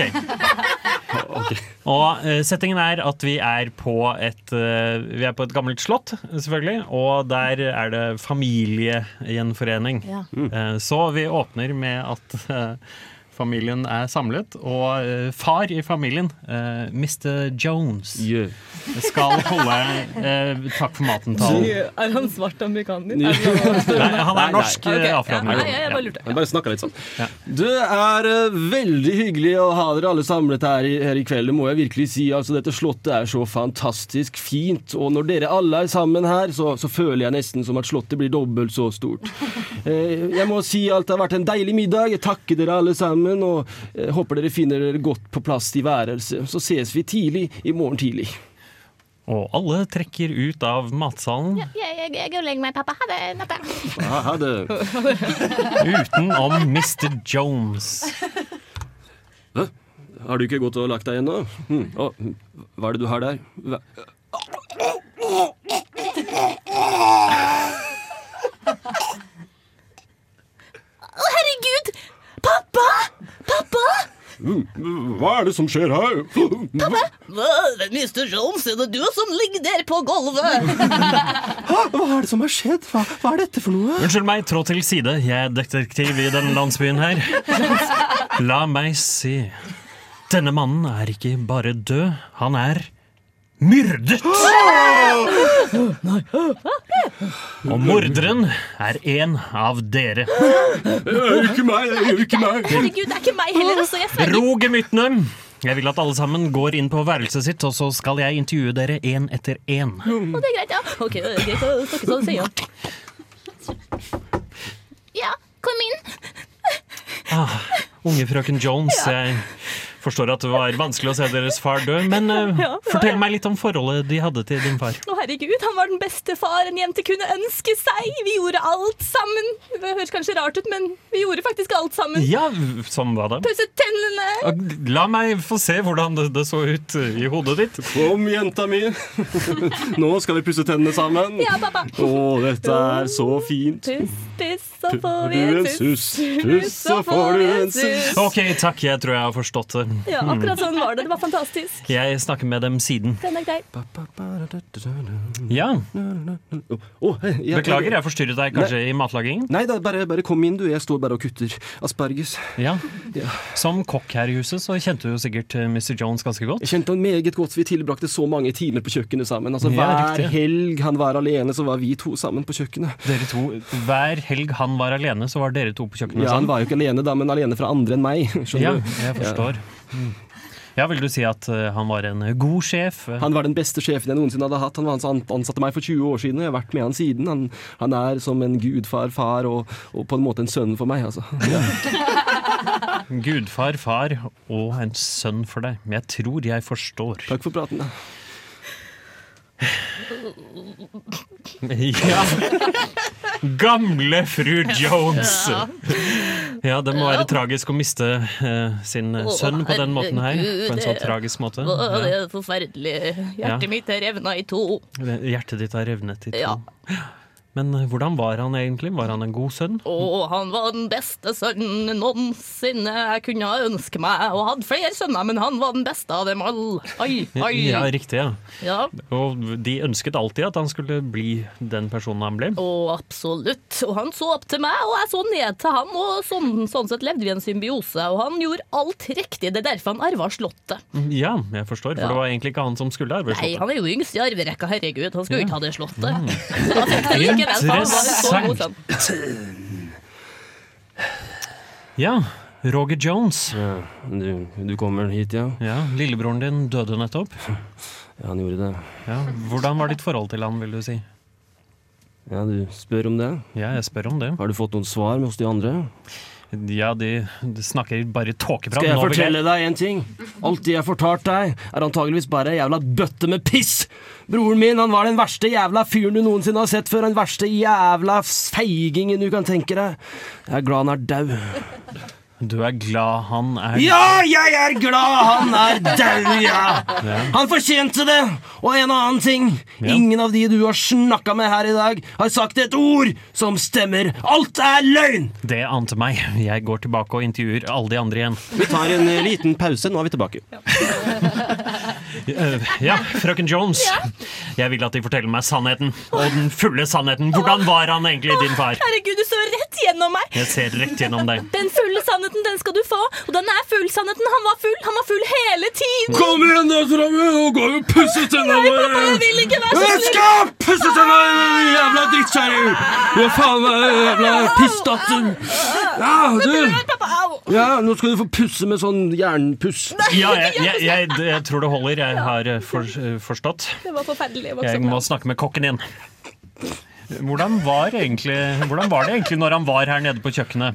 Og eh, settingen er at vi er på et eh, Vi er på et gammelt slott, selvfølgelig. Og der er det familiegjenforening. Ja. Eh, så vi åpner med at eh, familien er samlet, og eh, far i familien, eh, Mr. Jones, skal holde eh, Takk for maten-talen. Er han svart amerikaner? Nei, han er Nei, nei. Ok, norsk eh, ja. afroamerikaner. Nei, jeg bare lurte. Jeg bare snakka litt sånn. Det er eh, veldig hyggelig å ha dere alle samlet her i, her i kveld, det må jeg virkelig si. Altså, dette slottet er så fantastisk fint, og når dere alle er sammen her, så, så føler jeg nesten som at slottet blir dobbelt så *laughs* stort. Eh, Jeg må si at det har vært en deilig middag. Jeg takker dere alle sammen, og eh, håper dere finner dere godt på plass i værelset. Så ses vi tidlig i morgen tidlig. Og alle trekker ut av matsalen. Jeg, jeg, jeg går og legger meg, pappa. Ha det. Natta. Ha det. Utenom Mr. Jones. Hæ? Har du ikke gått og lagt deg ennå? Hm. å, hva er det du har der? Hva? Å, herregud! Pappa! Pappa! Hm. Hva er det som skjer her? Pappa! Hva, Mr. Jones, er det du som ligger der på gulvet? Hva er det som har skjedd? Hva, hva er dette for noe? Unnskyld meg, trå til side. Jeg er detektiv i denne landsbyen her. La meg se. Denne mannen er ikke bare død, han er myrdet! Og morderen er en av dere. Ikke meg, ikke meg. Herregud, det er ikke meg heller, altså. Jeg sverger. Ro gemyttene! Jeg vil at alle sammen går inn på værelset sitt, og så skal jeg intervjue dere én etter én. Å, det er greit, ja. Ok, det er greit å snakke sånn, sier han. Ja, kom inn. Ah, unge frøken Jones, jeg forstår at det var vanskelig å se deres far dø, men eh, Ja, det var fortell meg litt om forholdet de hadde til din far. Å, herregud, han var den beste far en jente kunne ønske seg. Vi gjorde alt sammen. Det høres kanskje rart ut, men vi gjorde faktisk alt sammen. Ja, som var det? Pusset tennene. La meg få se hvordan det, det så ut eh, i hodet ditt. Kom, jenta mi! *laughs* Nå skal vi pusse tennene sammen. Ja, pappa. Å, dette er så fint. Puss, puss, så får Får vi du en en suss. *laughs* suss? Puss, så får du en suss. Ok, takk, jeg tror jeg har forstått det. Ja, akkurat sånn var det. Det var fantastisk. Mm. Jeg snakker med dem siden. Den er grei. Ja. Å, hei, jeg- Beklager, jeg forstyrret deg kanskje i matlagingen? Nei da, bare, bare kom inn, du. Jeg står bare og kutter asparges. Ja. Som kokk her i huset så kjente du jo sikkert eh, Mr. Jones ganske godt. Jeg kjente han meget godt. Vi tilbrakte så mange timer på kjøkkenet sammen. Altså, Ja, hver riktig. helg han var alene, så var vi to sammen på kjøkkenet. Dere to, Hver helg han var alene, så var dere to på kjøkkenet Ja, han sammen? var jo ikke alene da, men alene fra andre enn meg. Ja, Skjønner du? jeg forstår. Mm. Ja, Vil du si at eh, han var en god sjef? eh, Han var den beste sjefen jeg noensinne hadde hatt. Han, var, han ansatte meg for 20 år siden, og jeg har vært med han siden. Han, han er som en gudfar, far og, og på en måte en sønn for meg, altså. Gudfar, far og en sønn for deg. Men jeg tror jeg forstår. Takk for praten. *laughs* Ja. Gamle fru Jones. Ja, det må være tragisk å miste eh, sin sønn på den måten her. På en så tragisk måte. Å, det Ja. er forferdelig. Ja. Hjertet mitt er revna i to. Hjertet ditt har revnet i to. Ja. Men eh, hvordan var han egentlig? Var han en god sønn? Og han var den beste sønnen noensinne jeg kunne ønske meg. Og hadde flere sønner, men han var den beste av dem alle. Ai, ai. *laughs* Ja, riktig. ja. Ja. Og de ønsket alltid at han skulle bli den personen han ble. Og absolutt. Og han så opp til meg, og jeg så ned til han. Og sånn, sånn sett levde vi en symbiose. Og han gjorde alt riktig. Det er derfor han arva slottet. Ja, jeg forstår, for Ja. det var egentlig ikke han som skulle arve Nei, slottet. han er jo yngst i arverekka, herregud. Han skulle jo ikke ha det slottet. Mm. Men han fikk det likevel, for han var jo så sånn. god sønn. Ja, Roger Jones. Du, kommer hit, ja? Ja, Lillebroren din døde nettopp. Ja, han gjorde det. Ja, hvordan var ditt forhold til han, vil du si? Ja, du spør om det? Ja, jeg spør om det. Har du fått noen svar hos de andre? Ja, de, de snakker bare tåkeprat. Skal jeg Nå vil fortelle deg en ting? Alt det jeg har fortalt deg, er antageligvis bare ei jævla bøtte med piss! Broren min han var den verste jævla fyren du noensinne har sett før. Den verste jævla feigingen du kan tenke deg. Jeg er glad han er dau. Du er glad han er Ja, jeg er glad han er dau, ja! Han fortjente det! Og en annen ting. Ja. Ingen av de du har snakka med her i dag, har sagt et ord som stemmer. Alt er løgn! Det ante meg. Jeg går tilbake og intervjuer alle de andre igjen. Vi tar en eh, liten pause, nå er vi tilbake. Eh, Ja, frøken Jones. Jeg vil at de forteller meg sannheten. Og den fulle sannheten. Hvordan var han egentlig, din far? Herregud, du så rett gjennom meg! Jeg ser rett gjennom deg. Den fulle sannheten, den skal du få. Og den er full sannheten. Han var full. Han var full hele tiden. Kom igjen, da, Tramme! Nå går vi og pusser tennene Nei, pappa, jeg vil ikke være sånn. så Jeg snill. skal pusse tennene, din jævla drittkjerring! Du er faen meg jævla pistatte. Ja, du. Ja, nå skal du få pusse med sånn jernpuss. Ja, jeg, jeg, jeg, jeg tror det holder. Jeg har eh, for, eh, forstått. Det var forferdelig. Jeg var Jeg må snakke med kokken din. Hvordan var, egentlig, hvordan var det egentlig når han var her nede på kjøkkenet?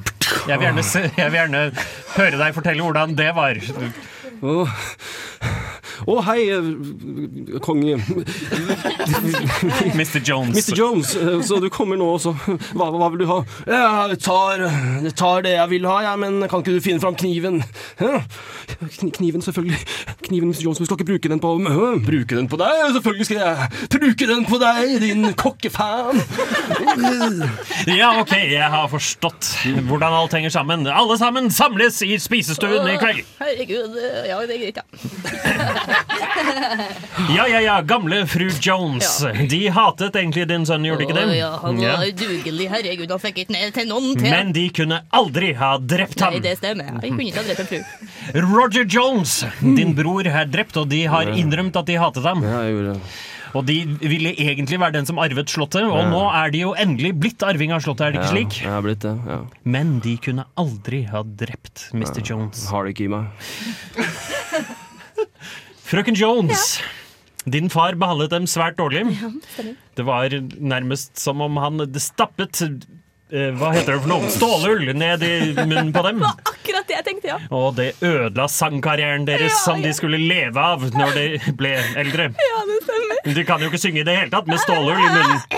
Jeg vil gjerne, se, jeg vil gjerne høre deg fortelle hvordan det var. Å, Å, hei, eh, kong Mr. Jones. Mr. Jones, eh, så du kommer nå også. Hva, hva vil du ha? Jeg tar, jeg tar det jeg vil ha, jeg, men kan ikke du finne fram kniven? Hæ? Kni- Kniven, selvfølgelig. Kniven, Mr. Jones, men du skal ikke bruke den på Hæ? Bruke den på deg? Selvfølgelig skal jeg bruke den på deg, din kokkefan! Ja, ok, jeg har forstått hvordan alt henger sammen. Alle sammen samles i spisestuen i kveld. Herregud. Ja, det er greit, ja. Ja, ja, ja, gamle fru Jones. De hatet egentlig din sønn, gjorde de ikke det? Å, Ja, han Ja. var udugelig. Herregud, han fikk ikke ned til noen til. Men de kunne aldri ha drept ham. Nei, det stemmer. Jeg kunne ikke ha drept en fru. Roger Jones, Hmm. din bror er drept, og de har innrømt at de hatet ham. Og de ville egentlig være den som arvet slottet, og Ja. nå er de jo endelig blitt arving av slottet, er det ikke slik? Ja, jeg har blitt det, ja. Men de kunne aldri ha drept Mr. Ja, Jones. Har det ikke i meg. *laughs* Frøken Jones, din far behandlet dem svært dårlig. stemmer. Det var nærmest som om han stappet eh, hva heter det for noe? Stålull ned i munnen på dem. Akkurat det jeg tenkte, ja. Eh, Og det ødela sangkarrieren deres som de skulle leve av når de ble eldre. Ja, det stemmer. Du kan jo ikke synge i det hele tatt med stålull i munnen. eh,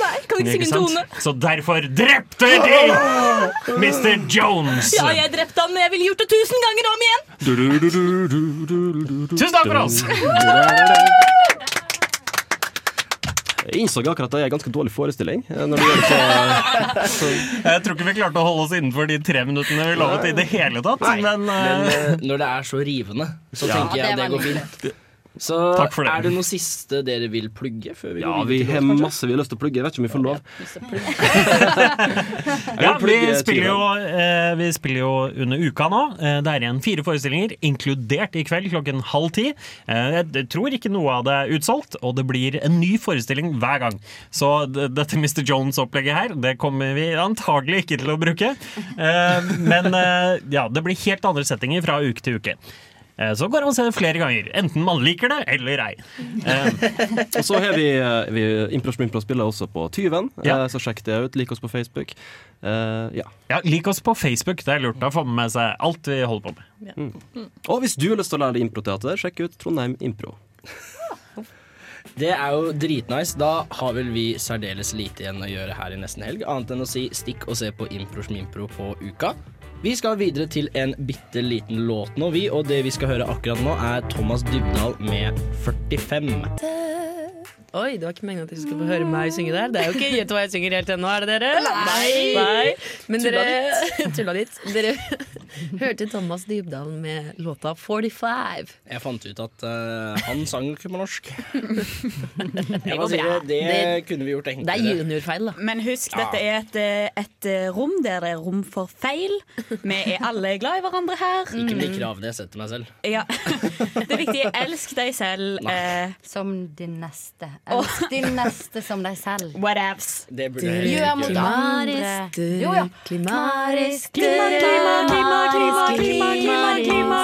Nei, kan ikke synge en sant? tone. Så derfor drepte de Mr. Jones! Ja, jeg drepte han, men jeg ville gjort det tusen ganger om igjen. Tusen takk for *laughs* oss! Mm. Jeg innså akkurat at jeg er ganske dårlig forestilling. eh, Når det gjør det så, så Jeg tror ikke vi klarte å holde oss innenfor de tre minuttene vi lovet i det hele tatt. Men, Men eh, eh, når det er så rivende, så Ja. tenker Ja, jeg det det var går nydelig. fint. Så Takk for det. er det noe siste dere vil plugge? Før vi Ja, går vi videre har til oss, kanskje? masse vi har lyst til å plugge. Jeg vet ikke om vi får lov. *laughs* ja, vi spiller, jo, eh, vi spiller jo under uka nå. Eh, Det er igjen fire forestillinger, inkludert i kveld klokken halv ti. Eh, Jeg d- tror ikke noe av det er utsolgt, og det blir en ny forestilling hver gang. Så d- dette Mr. Jones-opplegget her, det kommer vi antagelig ikke til å bruke. Eh, Men eh, ja, det blir helt andre settinger fra uke til uke. Eh, Så går det an å se det flere ganger, enten man liker det eller ei. Eh, Og så har vi, eh, vi Impro Smimpro spiller også på Tyven, eh, så sjekk det ut. Lik oss på Facebook. Eh, ja. Ja, Lik oss på Facebook, det er lurt. Da får man med seg alt vi holder på med. Mm. Og hvis du har lyst til å lære deg improteater, sjekk ut Trondheim Impro. Det er jo dritnice. Da har vel vi særdeles lite igjen å gjøre her i nesten helg, annet enn å si stikk og se på Impro Smimpro på uka. Vi skal videre til en bitte liten låt nå, vi, og det vi skal høre akkurat nå, er Thomas Dybdahl med 45. Oi, det var ikke meningen at dere skulle få høre meg synge der. Det er jo ikke Gjett hva jeg synger helt ennå, er det dere? Nei. Men Tulla dere *laughs* Tulla litt. Dere hørte Thomas Dybdahl med låta 45. Jeg fant ut at eh, han sang jo ikke på *laughs* norsk. Jeg må går si bra. det, det Det- kunne vi gjort Det er enklere. juniorfeil, da. Men husk, dette er et, eh, et eh, rom der det er rom for feil. Vi er alle glad i hverandre her. *laughs* Ikke Mm. bli krav det jeg setter meg selv. Ja. *laughs* Det viktige er elsk deg selv. Eh. Som din neste. Elsk din neste som deg *laughs* selv. Whatevs. Det burde jeg Gjør heller ikke mot gjøre. andre. Jo, ja. Klimarisk Klima, klima, klima, klima,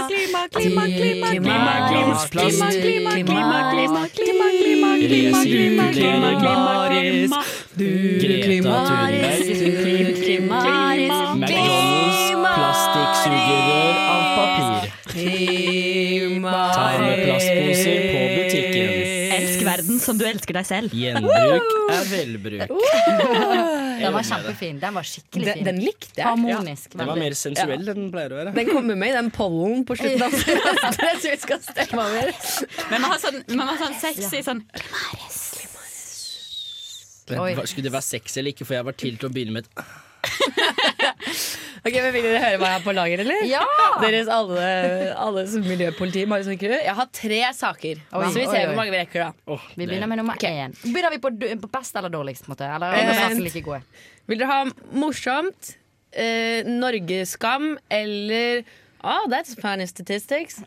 klima, klima, klima, klima, klima, klima, klima, klima, klima, klima, klima, klima, klima, klima, klima, klima, klima, klima. Plastikksugerør av papir. Ta med plastposer på butikken. Elsk verden som du elsker deg selv. Gjenbruk er velbruk. Wow. Uh. Den var kjempefin. Den var skikkelig Den, fin. den likte jeg. Harmonisk. Den var mer sensuell enn den pleier å være. Den kommer med i den pollen på slutten altså. av *laughs* semesteret. Jeg tror vi skal stemme over. Men man har sånn, man har sånn sexy sånn Klimaris. Oi. Hva- Skulle det være sexy eller ikke, for jeg var til til å begynne med et Ok, men Vil dere høre hva jeg har på lager, eller? Ja! *laughs* Deres alle, alle som miljøpoliti. Mari Sandkru. Jeg har tre saker, Oi, så vi oi, oi. ser hvor mange vi rekker. da Vi begynner med nummer én. Begynner vi på, d- på best eller dårligst? på en måte? Eller Eh, er det nesten like gode? Vil dere ha morsomt, eh, Norgeskam eller Oh, that's funny *laughs* statistics.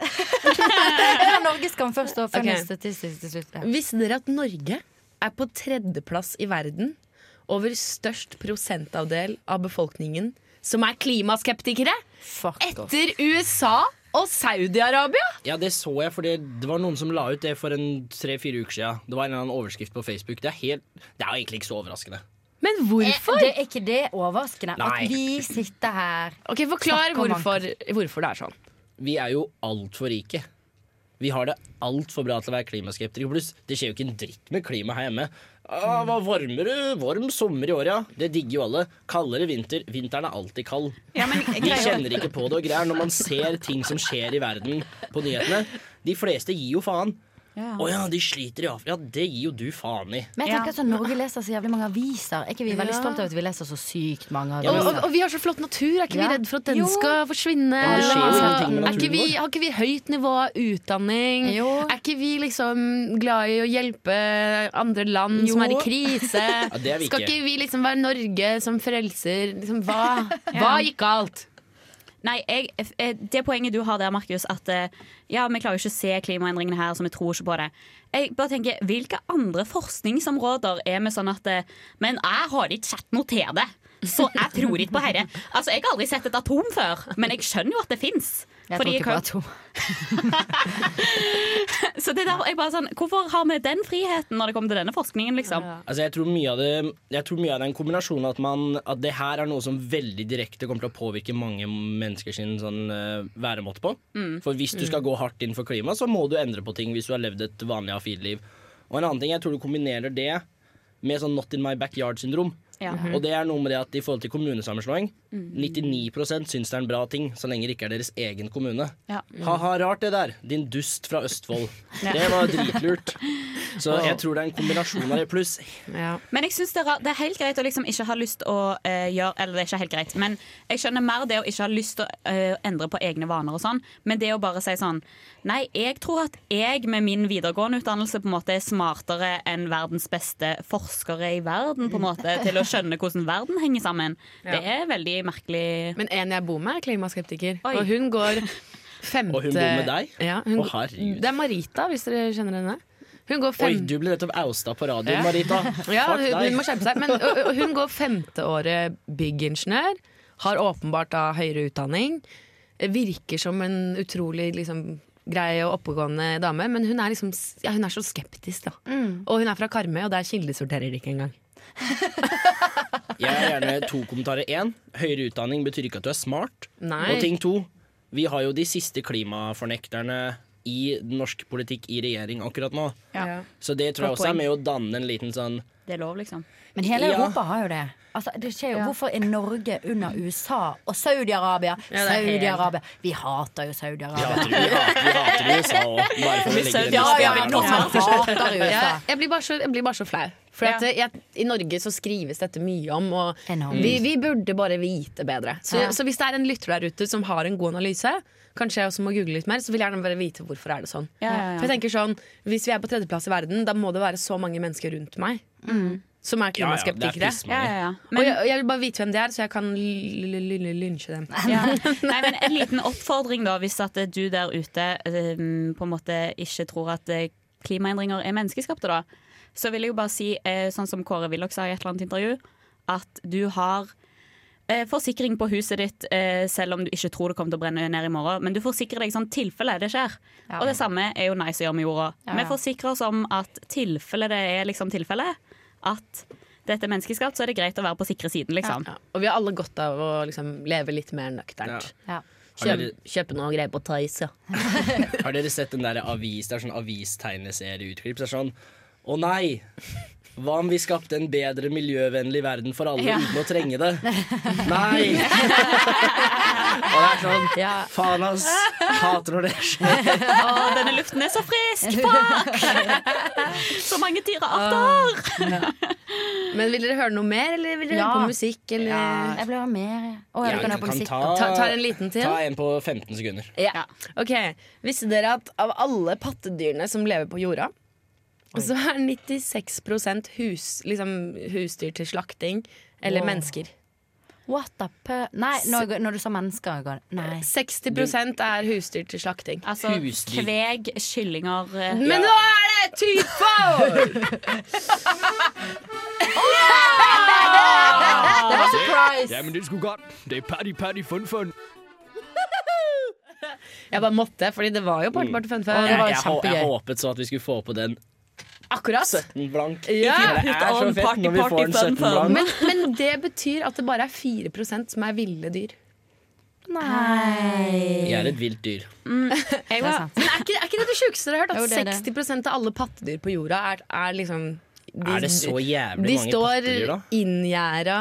Eller Norgeskam først og funny Ok. statistisk til slutt. Visste dere at Norge er på tredjeplass i verden over størst prosentavdel av befolkningen som er klimaskeptikere? Etter USA og Saudi-Arabia! Ja, det så jeg, for det var noen som la ut det for en tre-fire uker siden. Det var en eller annen overskrift på Facebook. Det er, helt, det er jo egentlig ikke så overraskende. Men hvorfor? Eh, Det er ikke det overraskende Nei. at vi sitter her Ok, Forklar snakker om hvorfor, hvorfor det er sånn. Vi er jo altfor rike. Vi har det altfor bra til å være klimaskeptikere. Pluss, det skjer jo ikke en dritt med klima her hjemme. Ah, hva varmere, Varm sommer i år, ja. Det digger jo alle. Kaldere vinter. Vinteren er alltid kald. Vi greier- kjenner ikke på det og greier når man ser ting som skjer i verden på nyhetene. De fleste gir jo faen. Å ja, de sliter i Afrika. Ja, det gir jo du faen i. Men jeg tenker sånn, Norge leser så jævlig mange aviser. Er ikke vi veldig Ja. stolte av at vi leser så sykt mange Og, og, aviser? og vi har så flott natur. Er ikke Ja. vi redd for at den Jo. skal forsvinne? Ja, det skjer jo Eller, ingenting med er ikke naturen vi, vår. har ikke vi høyt nivå av utdanning? Er ikke vi liksom glad i å hjelpe andre land Jo. som er i krise? Ja, det er vi skal ikke. ikke vi liksom være Norge som frelser? Liksom, hva? hva gikk galt? Nei, jeg, eh, Det poenget du har der, Markus, at eh, ja, vi klarer jo ikke å se klimaendringene her, så vi tror ikke på det. Jeg bare tenker, Hvilke andre forskningsområder er vi sånn at eh, Men jeg har ikke sett noe til det, så jeg tror ikke på herre. Altså, Jeg har aldri sett et atom før, men jeg skjønner jo at det fins. Jeg tror ikke på atom. *laughs* så det der, jeg bare sånn, Hvorfor har vi den friheten når det kommer til denne forskningen, liksom? Altså, jeg, tror mye av det, jeg tror mye av det er en kombinasjon av at, man, at det her er noe som veldig direkte kommer til å påvirke mange mennesker sin sånn, eh, væremåte på. Mm. For hvis du Mm. skal gå hardt inn for klima, så må du endre på ting hvis du har levd et vanlig A4-liv. Og en annen ting, jeg tror du kombinerer det med sånn not in my backyard-syndrom. Ja. Mhm. Og det er noe med det at i forhold til kommunesammenslåing, Mm. 99 syns det er en bra ting, så lenge det ikke er deres egen kommune. Ja. Mm. Ha-ha, rart det der. Din dust fra *laughs* Østfold. Ja. Det var dritlurt. Så Åh. jeg tror det er en kombinasjon av det, pluss Men jeg synes det, er, ra- det er helt greit å liksom ikke ha lyst å eh, gjøre Eller det er ikke helt greit, men jeg skjønner mer det å ikke ha lyst til å eh, endre på egne vaner og sånn, men det å bare si sånn Nei, jeg tror at jeg med min videregående utdannelse på en måte er smartere enn verdens beste forskere i verden, på en måte, til å skjønne hvordan verden henger sammen. Mm. Ja. Det er veldig merkelig. Men en jeg bor med, er klimaskeptiker. Oi. Og hun går femte Og hun bor med deg? Ja, hun, Å, herregud. det er Marita, hvis dere kjenner henne. Hun går Oi, fem... du ble nettopp ousta på radioen, *laughs* Ja. Marita. Ja, Fuck hun, deg. hun må skjerpe seg. Men og- og hun går femteåret byggingeniør. Har åpenbart da høyere utdanning. Virker som en utrolig liksom, grei og oppegående dame, men hun er, liksom, s- ja, hun er så skeptisk. da Og hun er fra Karmøy, og der kildesorterer de ikke engang. *laughs* Jeg har gjerne to kommentarer. Én, høyere utdanning betyr ikke at du er smart. Nei. Og ting to, vi har jo de siste klimafornekterne i norsk politikk i regjering akkurat nå. Ja. Så det tror jeg Godt også er poeng. med å danne en liten sånn Det er lov, liksom. Men hele Ja. Europa har jo det. Altså, det skjer jo. Hvorfor er Norge under USA og Saudi-Arabia? Ja, det er helt- Saudi-Arabia Vi hater jo Saudi-Arabia. Vi hater, vi hater USA også, bare for å Vi legge det ja, lyset ja, der vi nå. hater jo USA. Jeg, jeg, blir bare så, jeg blir bare så flau. For at eh, jeg, I Norge så skrives dette mye om, og Enormt. vi, vi burde bare vite bedre. Så, Ja. så hvis det er en lytter der ute som har en god analyse, kanskje jeg også må google litt mer, så vil jeg gjerne bare vite hvorfor er det sånn. Ja, ja, ja. For jeg tenker sånn, Hvis vi er på tredjeplass i verden, da må det være så mange mennesker rundt meg Mm. Mm. som Ja, ja, er det er klimaskeptikere. pissmange. Ja, ja, ja. og jeg, og jeg vil bare vite hvem de er, så jeg kan l- l- l- lynsje dem. *laughs* Ja. Nei, men En liten oppfordring, da, hvis at du der ute eh, på en måte ikke tror at eh, klimaendringer er menneskeskapte, da. Så vil jeg jo bare si, eh, sånn som Kåre Willoch sa i et eller annet intervju, at du har eh, forsikring på huset ditt eh, selv om du ikke tror det kommer til å brenne ned i morgen. Men du forsikrer deg sånn tilfelle det skjer. Og det samme er jo nice å gjøre med jorda. Ja, ja. Vi forsikrer oss om at tilfelle det er liksom tilfelle, at dette er menneskeskapt, så er det greit å være på sikre siden, liksom. Ja. Og vi har alle godt av å liksom, leve litt mer nøkternt. Har Kjøp, dere- kjøpe noe greier på Tice, ja. *laughs* Har dere sett den der avis, det er sånn avistegneserieutgripp? Så det er sånn Å nei! Hva om vi skapte en bedre miljøvennlig verden for alle Ja. uten å trenge det? *laughs* Nei! Og det er sånn Faen, ass. Hater når det skjer. Å, denne luften er så frisk! Fuck! Så mange dyrearter! Ah, Men vil dere høre noe mer, eller vil dere Ja. høre på musikk? Eller? Ja, jeg vil høre mer. Å, jeg Ja, vil vi høre på kan musikk. ta- Ta- ta en liten til? Ta en på 15 sekunder. Ja. Ok, Visste dere at av alle pattedyrene som lever på jorda, så er 96 hus, liksom, husdyr til slakting eller Wow. mennesker. What the pu... Nei, når, når du sa mennesker ga det Nei. 60 er husdyr til slakting. Altså kveg, kyllinger eh, Men nå er det typer! Ah, Det var surprise! Ja, men det skulle godt. Det er party, party, fun, fun. Jeg bare måtte, fordi det var jo Party Party Fun Fun. Jeg, Mm. jeg, hå- jeg håpet så at vi skulle få på den Akkurat. 17 blank. Ja. Det er så fett når vi får en 17 blank. Men, men det betyr at det bare er 4 som er ville dyr. Jeg er et vilt dyr. *laughs* Mm. Jeg var, men er ikke, er ikke det det sjukeste dere har hørt? Jo, At det er det. 60 av alle pattedyr på jorda er, er liksom de- Er det så jævlig De mange står pattedyr, da? inngjerda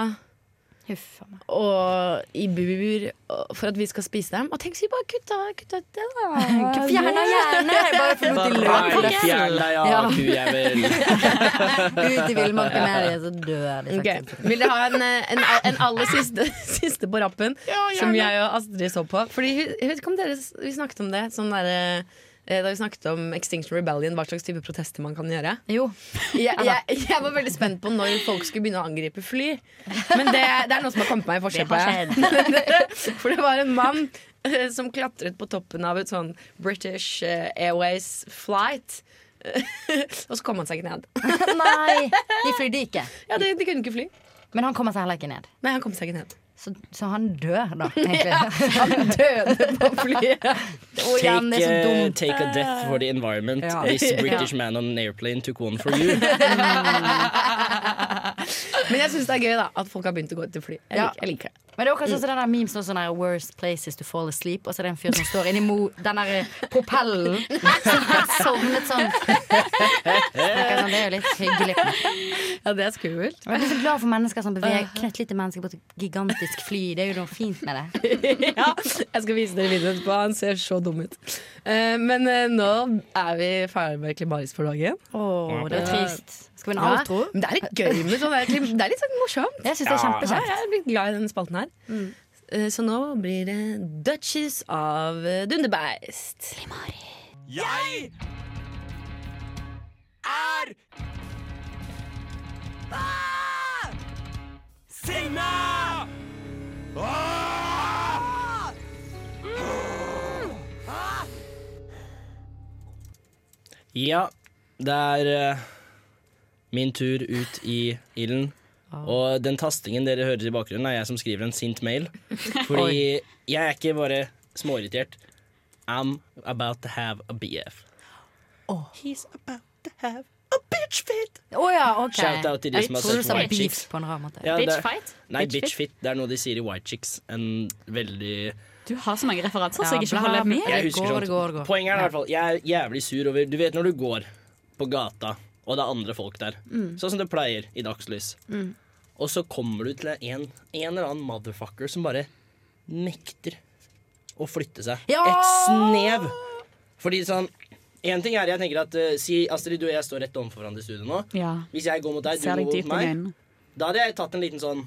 og i bur og- for at vi skal spise dem. Og tenk så vi bare kutta, kutta ut det, *laughs* da. Fjerna hjernen, bare for å Bare fjern deg, ja, Ja. kujævel. *laughs* Ut i villmarken med dem, så dør liksom. de Ok. faktisk. Vil dere ha en, eh, en, en aller siste, *laughs* siste på rappen? som gjerne. jeg og Astrid så på. Fordi hun- jeg vet ikke om dere s- Vi snakket om det sånn derre, eh, da vi snakket om Extinction Rebellion, hva slags type protester man kan gjøre. Jeg, jeg, jeg var veldig spent på når folk skulle begynne å angripe fly. Men det, det er noe som har kommet meg i forskjell Det har på. *laughs* For det var en mann eh, som klatret på toppen av et sånn British eh, Airways flight. *laughs* og så kom han seg ikke ned. Nei, de flydde ikke. *laughs* Ja, de, de kunne ikke fly. Men han kommer seg heller ikke ned. Nei, han kom seg ikke ned. Så, så han dør, *laughs* da, Ja, *laughs* egentlig. han døde på flyet. Og igjen, det er så eh, dumt. take a death for the environment. *laughs* Ja. This British Ja. man on an airplane took one for *laughs* you. Men jeg syns det er *laughs* gøy da at folk har begynt å gå til fly. Jeg, Ja. liker, jeg liker det. Men det er også sånn den der memes nå, sånn der Worst places to fall asleep Og så er det en fyr som står inni mo den der eh, propellen *laughs* Som har sovnet sånn Snakker sånn, Det er jo litt hyggelig Ja, det er skummelt Jeg blir så glad for mennesker som beveger Uh-huh. Knett lite mennesker på et gigantisk fly Det er jo noe fint med det *laughs* ja, jeg skal vise dere videoen etterpå. Han ser så dum ut. Eh, men eh, nå er vi ferdig med Klimaris for dagen. Åh, det var trist. Skal vi ha en Ja, outro? Men det er litt gøy med sånn der klim- Det er litt sånn morsomt. Jeg synes det er Ja. kjempekjekt. Ja, jeg er blitt glad i denne spalten her. Eh, Så nå blir det Duchess av eh, Dunderbeist. Jeg er Ah! Signe! Ah! Mm! Ah! Ja, det er eh, min tur ut i ilden. Ah. Og den tastingen dere hører i bakgrunnen, er jeg som skriver en sint *laughs* mail. Fordi jeg er ikke bare småirritert. I'm about to have a BF. He's about to have a bitch fit. Å ja, ok Shout out til de som har Jeg tror sett du sa på White beef Chicks. på en rar måte Ja, det- Nei, bitch fit. Det er noe de sier i White Chicks. En veldig Du har så mange Sånn referanser, så Ja, jeg ikke bla, holder med. Jeg husker sånt. Poenget er i hvert fall Jeg er jævlig sur over Du vet når du går på gata, og det er andre folk der, Mm. sånn som det pleier i dagslys, og så kommer du til en, en eller annen motherfucker som bare nekter å flytte seg. Et snev! Fordi sånn En ting er jeg tenker at eh, Si Astrid, du og jeg står rett overfor hverandre i studio nå. Ja. Hvis jeg går mot deg, du går Ser deg dypt mot inn i meg, øynene. da hadde jeg tatt en liten sånn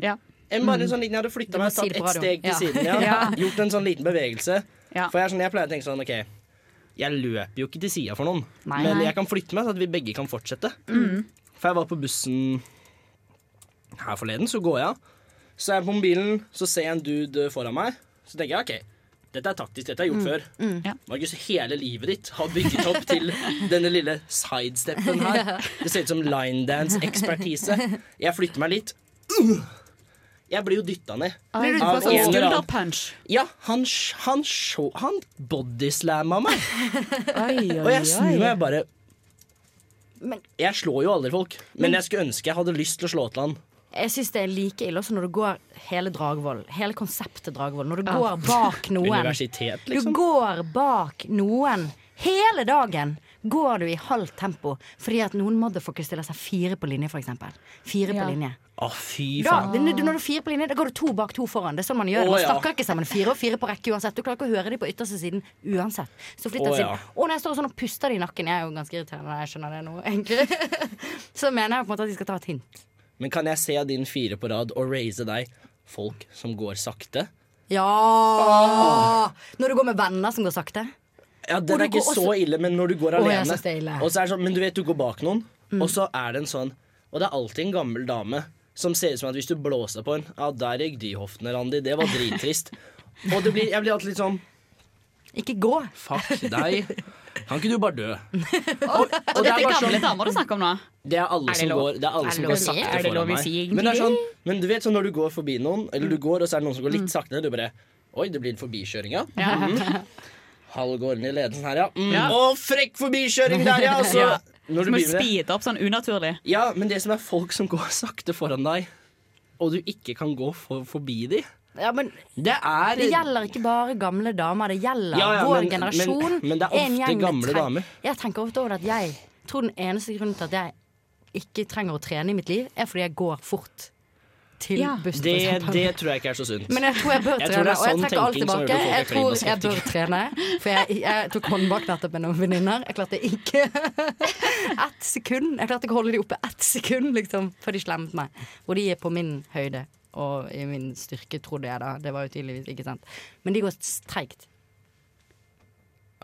Ja. en bare en sånn liten, Jeg hadde flytta Du må meg, si tatt det på ett radioen. steg til Ja. siden. Ja. *laughs* Ja. Gjort en sånn liten bevegelse. Ja. For jeg, er sånn, jeg pleier å tenke sånn OK, jeg løper jo ikke til sida for noen, Nei. men Nei. Mm. jeg kan flytte meg, så at vi begge kan fortsette. For jeg var på bussen her forleden, så går jeg av. Så er jeg på mobilen, så ser jeg en dude foran meg. Så tenker jeg OK, dette er taktisk, dette har jeg Mm. gjort før. Markus, hele livet ditt har bygget opp til denne lille sidesteppen *laughs* her. Det ser ut som linedance-ekspertise. Jeg flytter meg litt. Jeg blir jo dytta ned. Blir du på sånn skulderpunch? Ja, han, sj- han, sj- han bodyslamma meg. Og jeg snur meg og jeg bare Men- Jeg slår jo aldri folk, men jeg skulle ønske jeg hadde lyst til å slå til han. Jeg syns det er like ille også når du går hele Dragvoll. Hele konseptet Dragvoll. Når du Ja. *laughs* Ah. går bak noen. liksom. Universitet, liksom. Du går bak noen hele dagen. går du i halvt tempo fordi at noen motherfuckers stiller seg fire på linje, for eksempel. Fire Ja. på linje. Å, fy Da, faen. det- når du er fire på linje, da går du to bak to foran. Det er sånn man gjør. Å, Man ja. snakker ikke sammen fire og fire på rekke uansett. Du klarer ikke å høre de på ytterste siden uansett. Så Å, flytter jeg ja. siden. Og når jeg står sånn og puster de i nakken, jeg er jo ganske irriterende når jeg skjønner det nå, egentlig, *laughs* så mener jeg på en måte at de skal ta et hint. Men kan jeg se din fire på rad og raise deg folk som går sakte? Ja! Når du går med venner som går sakte. Ja, Og Den du er ikke går også- så ille, men når du går Å, jeg alene synes det er ille. Og så er det sånn, Men du vet, du går bak noen, og så er det en sånn Og det er alltid en gammel dame som ser ut som at hvis du blåser på en Ja, der gikk de hoftene, Randi. Det var drittrist. og det blir, jeg blir alltid litt sånn Ikke gå. Fuck deg. Kan ikke du bare dø? Og dette er gamle damer du snakker om nå. sånn- Det er alle Er det som lov? går Det er alle Er det som lov går å si? sakte Er det lov foran å meg. si egentlig? men, det er sånn, men du vet sånn når du går forbi noen, eller du går, og så er det noen som går Mm. litt saktere, du bare Oi, det blir en forbikjøring, ja. Ja. Mhm. Halv går ned i ledelsen her, ja. Mm. Ja. Og frekk forbikjøring der, *laughs* ja! Og så, *laughs* når Ja. Så du må du begynner det- speede opp sånn unaturlig. Ja, men det som er folk som går *laughs* sakte foran deg, og du ikke kan gå for, forbi de Ja, men Det er Det gjelder ikke bare gamle damer, det gjelder Ja, ja, vår men- generasjon. men- men det er en ofte gjeng med gamle tre- damer. Jeg tenker ofte over det at jeg tror den eneste grunnen til at jeg ikke trenger å trene i mitt liv, er fordi jeg går fort til Ja. bussen. Det, for eksempel. det tror jeg ikke er så sunt. Men jeg tror jeg bør Jeg tror trene, det er og jeg sånn trekker alt tenking som gjør tilbake. Jeg at folk tror jeg er bør trene, for jeg, jeg tok håndbak nettopp med noen venninner. Jeg klarte ikke *laughs* ett sekund. Jeg klarte ikke å holde de oppe ett sekund, liksom, før de slemmet meg. Og de er på min høyde og i min styrke, trodde jeg da. Det var jo tydeligvis ikke sant. Men de går treigt.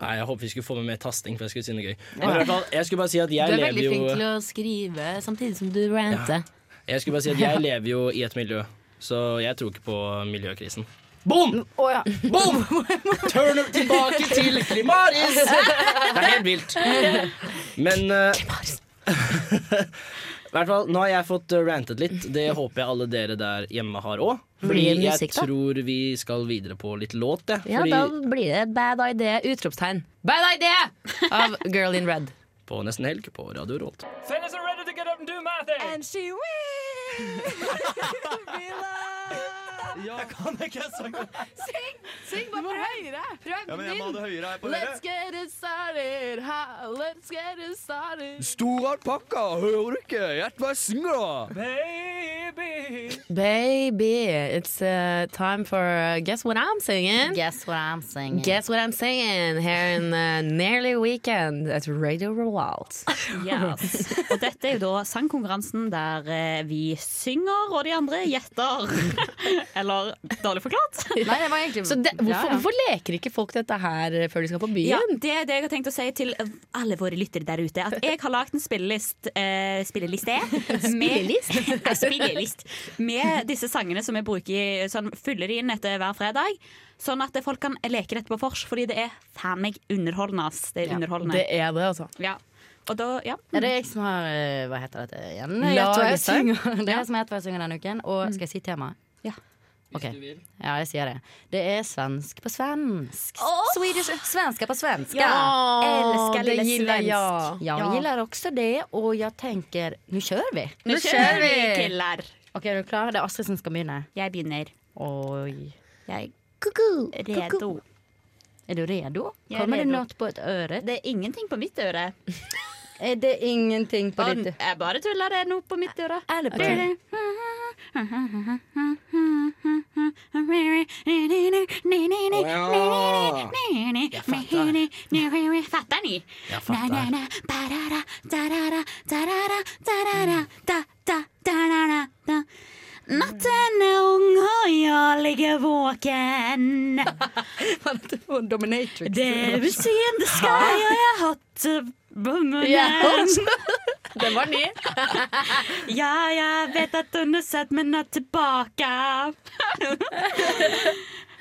Nei, Jeg håper vi skulle få med mer tasting, for jeg skulle si noe gøy. Ja. Men i hvert fall, jeg skulle bare si at du jeg er lever veldig jo flink til å skrive samtidig som du ranter. Jeg skulle bare si at *laughs* Ja. jeg lever jo i et miljø, så jeg tror ikke på *laughs* miljøkrisen. Boom! Mm, Å ja. Boom! Turner tilbake til Klimaris! *laughs* Det er helt vilt. Men eh, *laughs* I hvert fall, nå har jeg fått eh, rantet litt. Det håper jeg alle dere der hjemme har òg. Fordi Blir det jeg musikk, da? tror vi skal videre på litt låt, jeg. Ja, Fordi da blir det Bad Idea! Utropstegn. Bad Idea! *laughs* Av Girl in Red. på Nesten Helg på Radio Rolt. Fellas are ready to get up and do my thing. And she Jeg kan ikke synge. Sing! Syng bare høyere! Prøv Ja, men jeg må ha det høyere her på Let's dere. get it started, ha, let's get it started. Stor alpakka, hører du ikke? Gjett hva jeg synger, da. Baby, it's uh, time for uh, Guess What I'm Singing. Guess What I'm Singing. Guess What I'm Singing here in uh, Nearly Weekend at Radio Revolt. *laughs* Yes. Og dette er jo da sangkonkurransen der eh, vi synger, og de andre gjetter. *laughs* Eller dårlig forklart. Nei, det var egentlig- Så det, hvorfor, Ja, ja. hvorfor leker ikke folk dette her eh, før de skal på byen? Ja, det er det jeg har tenkt å si til alle våre lyttere der ute. At jeg har lagd en spillelist, eh, spilleliste *laughs* med, *laughs* Spillelist? Ja, spillelist med disse sangene som jeg bruker i- sånn, fyller inn etter hver fredag. Sånn at folk kan leke dette på vors, fordi det er faen meg underholdende. ass. Det er Ja, underholdende. det er det, altså. Ja. Og da, ja. Er det *laughs* jeg som har eh, Hva heter dette igjen? Laget Gjett hva jeg sang. synger. Det er jeg som heter hva jeg synger denne uken. Og Mm. skal jeg si temaet? Ja. Ok. Ja, jeg sier det. Det er svensk på svensk. Swedish svenska på svenska. Ja, Älskar det lille gillar svensk. jag. Ja, Ja. jag gillar också det och jag tänker, nu kör vi. Nu kör vi, killar. Ok, er du klar? Det er Astrid som skal begynne. Jeg begynner. Oi. Jeg er redo. Er du redo? Jeg er Kommer det redo. noe på et øre? Det er ingenting på mitt øre. Er det ingenting på Å, ditt øre? Jeg bare tuller, det er noe på mitt øre. Er det på Ok. ditt? Fattar ni? Jag fattar. Na, na, na, barara, darara, darara, darara, da, da, darara, da. Natten er ung, og jeg ligger *laughs* våken. Dominatrix. Det vil si en det skal jeg har hatt eh, bommene. *laughs* Den var ny. *laughs* ja, jeg vet at hun har sett meg nå tilbake. *laughs*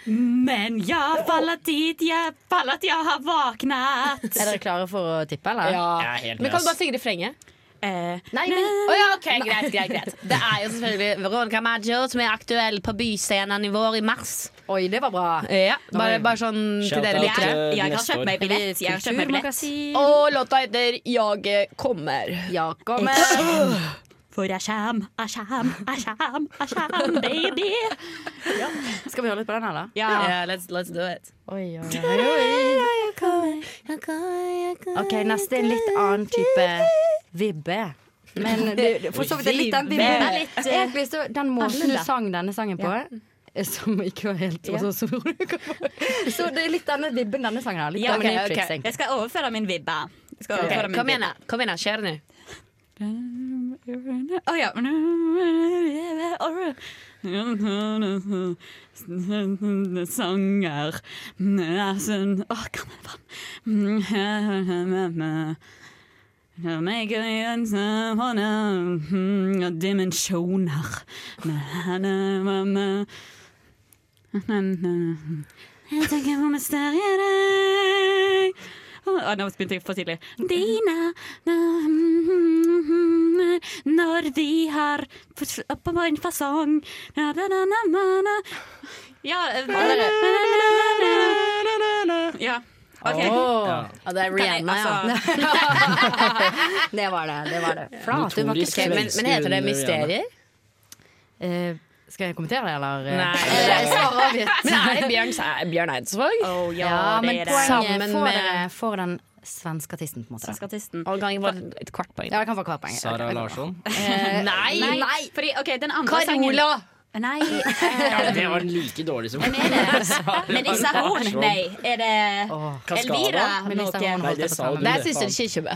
Men jeg faller dit, jeg faller at jeg har våknet. Er dere klare for å tippe, eller? Ja. Men kan du bare synge refrenget? Eh, Nei, men Å ja, OK, greit, greit. *laughs* greit Det er jo selvfølgelig Veronica Maggio som er aktuell på Byscenen i vår i mars. Oi, det var bra. Ja, bare, bare sånn til Shout dere out, lyttere. eh, Jeg har neste kjøpt år. meg billett, jeg har kjøpt meg billett. Og låta heter Jeg kommer. Jeg For jeg kjem, jeg kjem, jeg kjem, jeg kjem, baby. Skal vi holde litt på den, eller? Ja. let's, let's do it. Oi, oi, oi. jeg kommer, jeg kommer, jeg kommer. OK, neste er en litt annen type vibbe. *laughs* Men *laughs* det, for så vidt er litt den vibben Vibbe. Litt, eh, Egentlig så Den måten du annerledes. sang denne sangen på, Ja. eh, som ikke var helt Ja. altså, som- *laughs* Så det er litt denne vibben denne sangen har. Litt Ja, av en ok, ok. utflipsing. Jeg skal overføre min vibbe. Jeg skal Ok, overføre min kom igjen vibbe. da, Kom igjen, da. Kjør nå. Eh, Å ja. Sanger Nesen Å, gammel vann. Make Dimensjoner. Jeg tenker på mysteriet deg Å, Nå begynte jeg for tidlig. Dina hm, Når vi har på en fasong Ja, eh, ja. OK. Åh, ja, altså- det er Rihanna, ja. *laughs* det var det. det, var det. Flat, du var ikke Ok, men, men heter det mysterier? Eh, skal jeg kommentere det, eller? Eh, Men er det Bjørn, er Bjørn Eidsvåg? Oh, ja, men poenget Sammen får, med dere- får den svenske artisten, på en måte. Svenske artisten. Og kan jeg bare et kvart poeng. Ja, det kan få kvartpoeng. Sara Larsson. Eh, Nei! *laughs* nei. Fordi, ok, den andre *laughs* Carola! sangen Nei. Ja, eh, det var like dårlig som *laughs* Melissa Horn, nei. Er det Kaskada? Elvira? Melissa noe? Horn holdt jeg på å ta med. Det er søsteren Kirkjebø.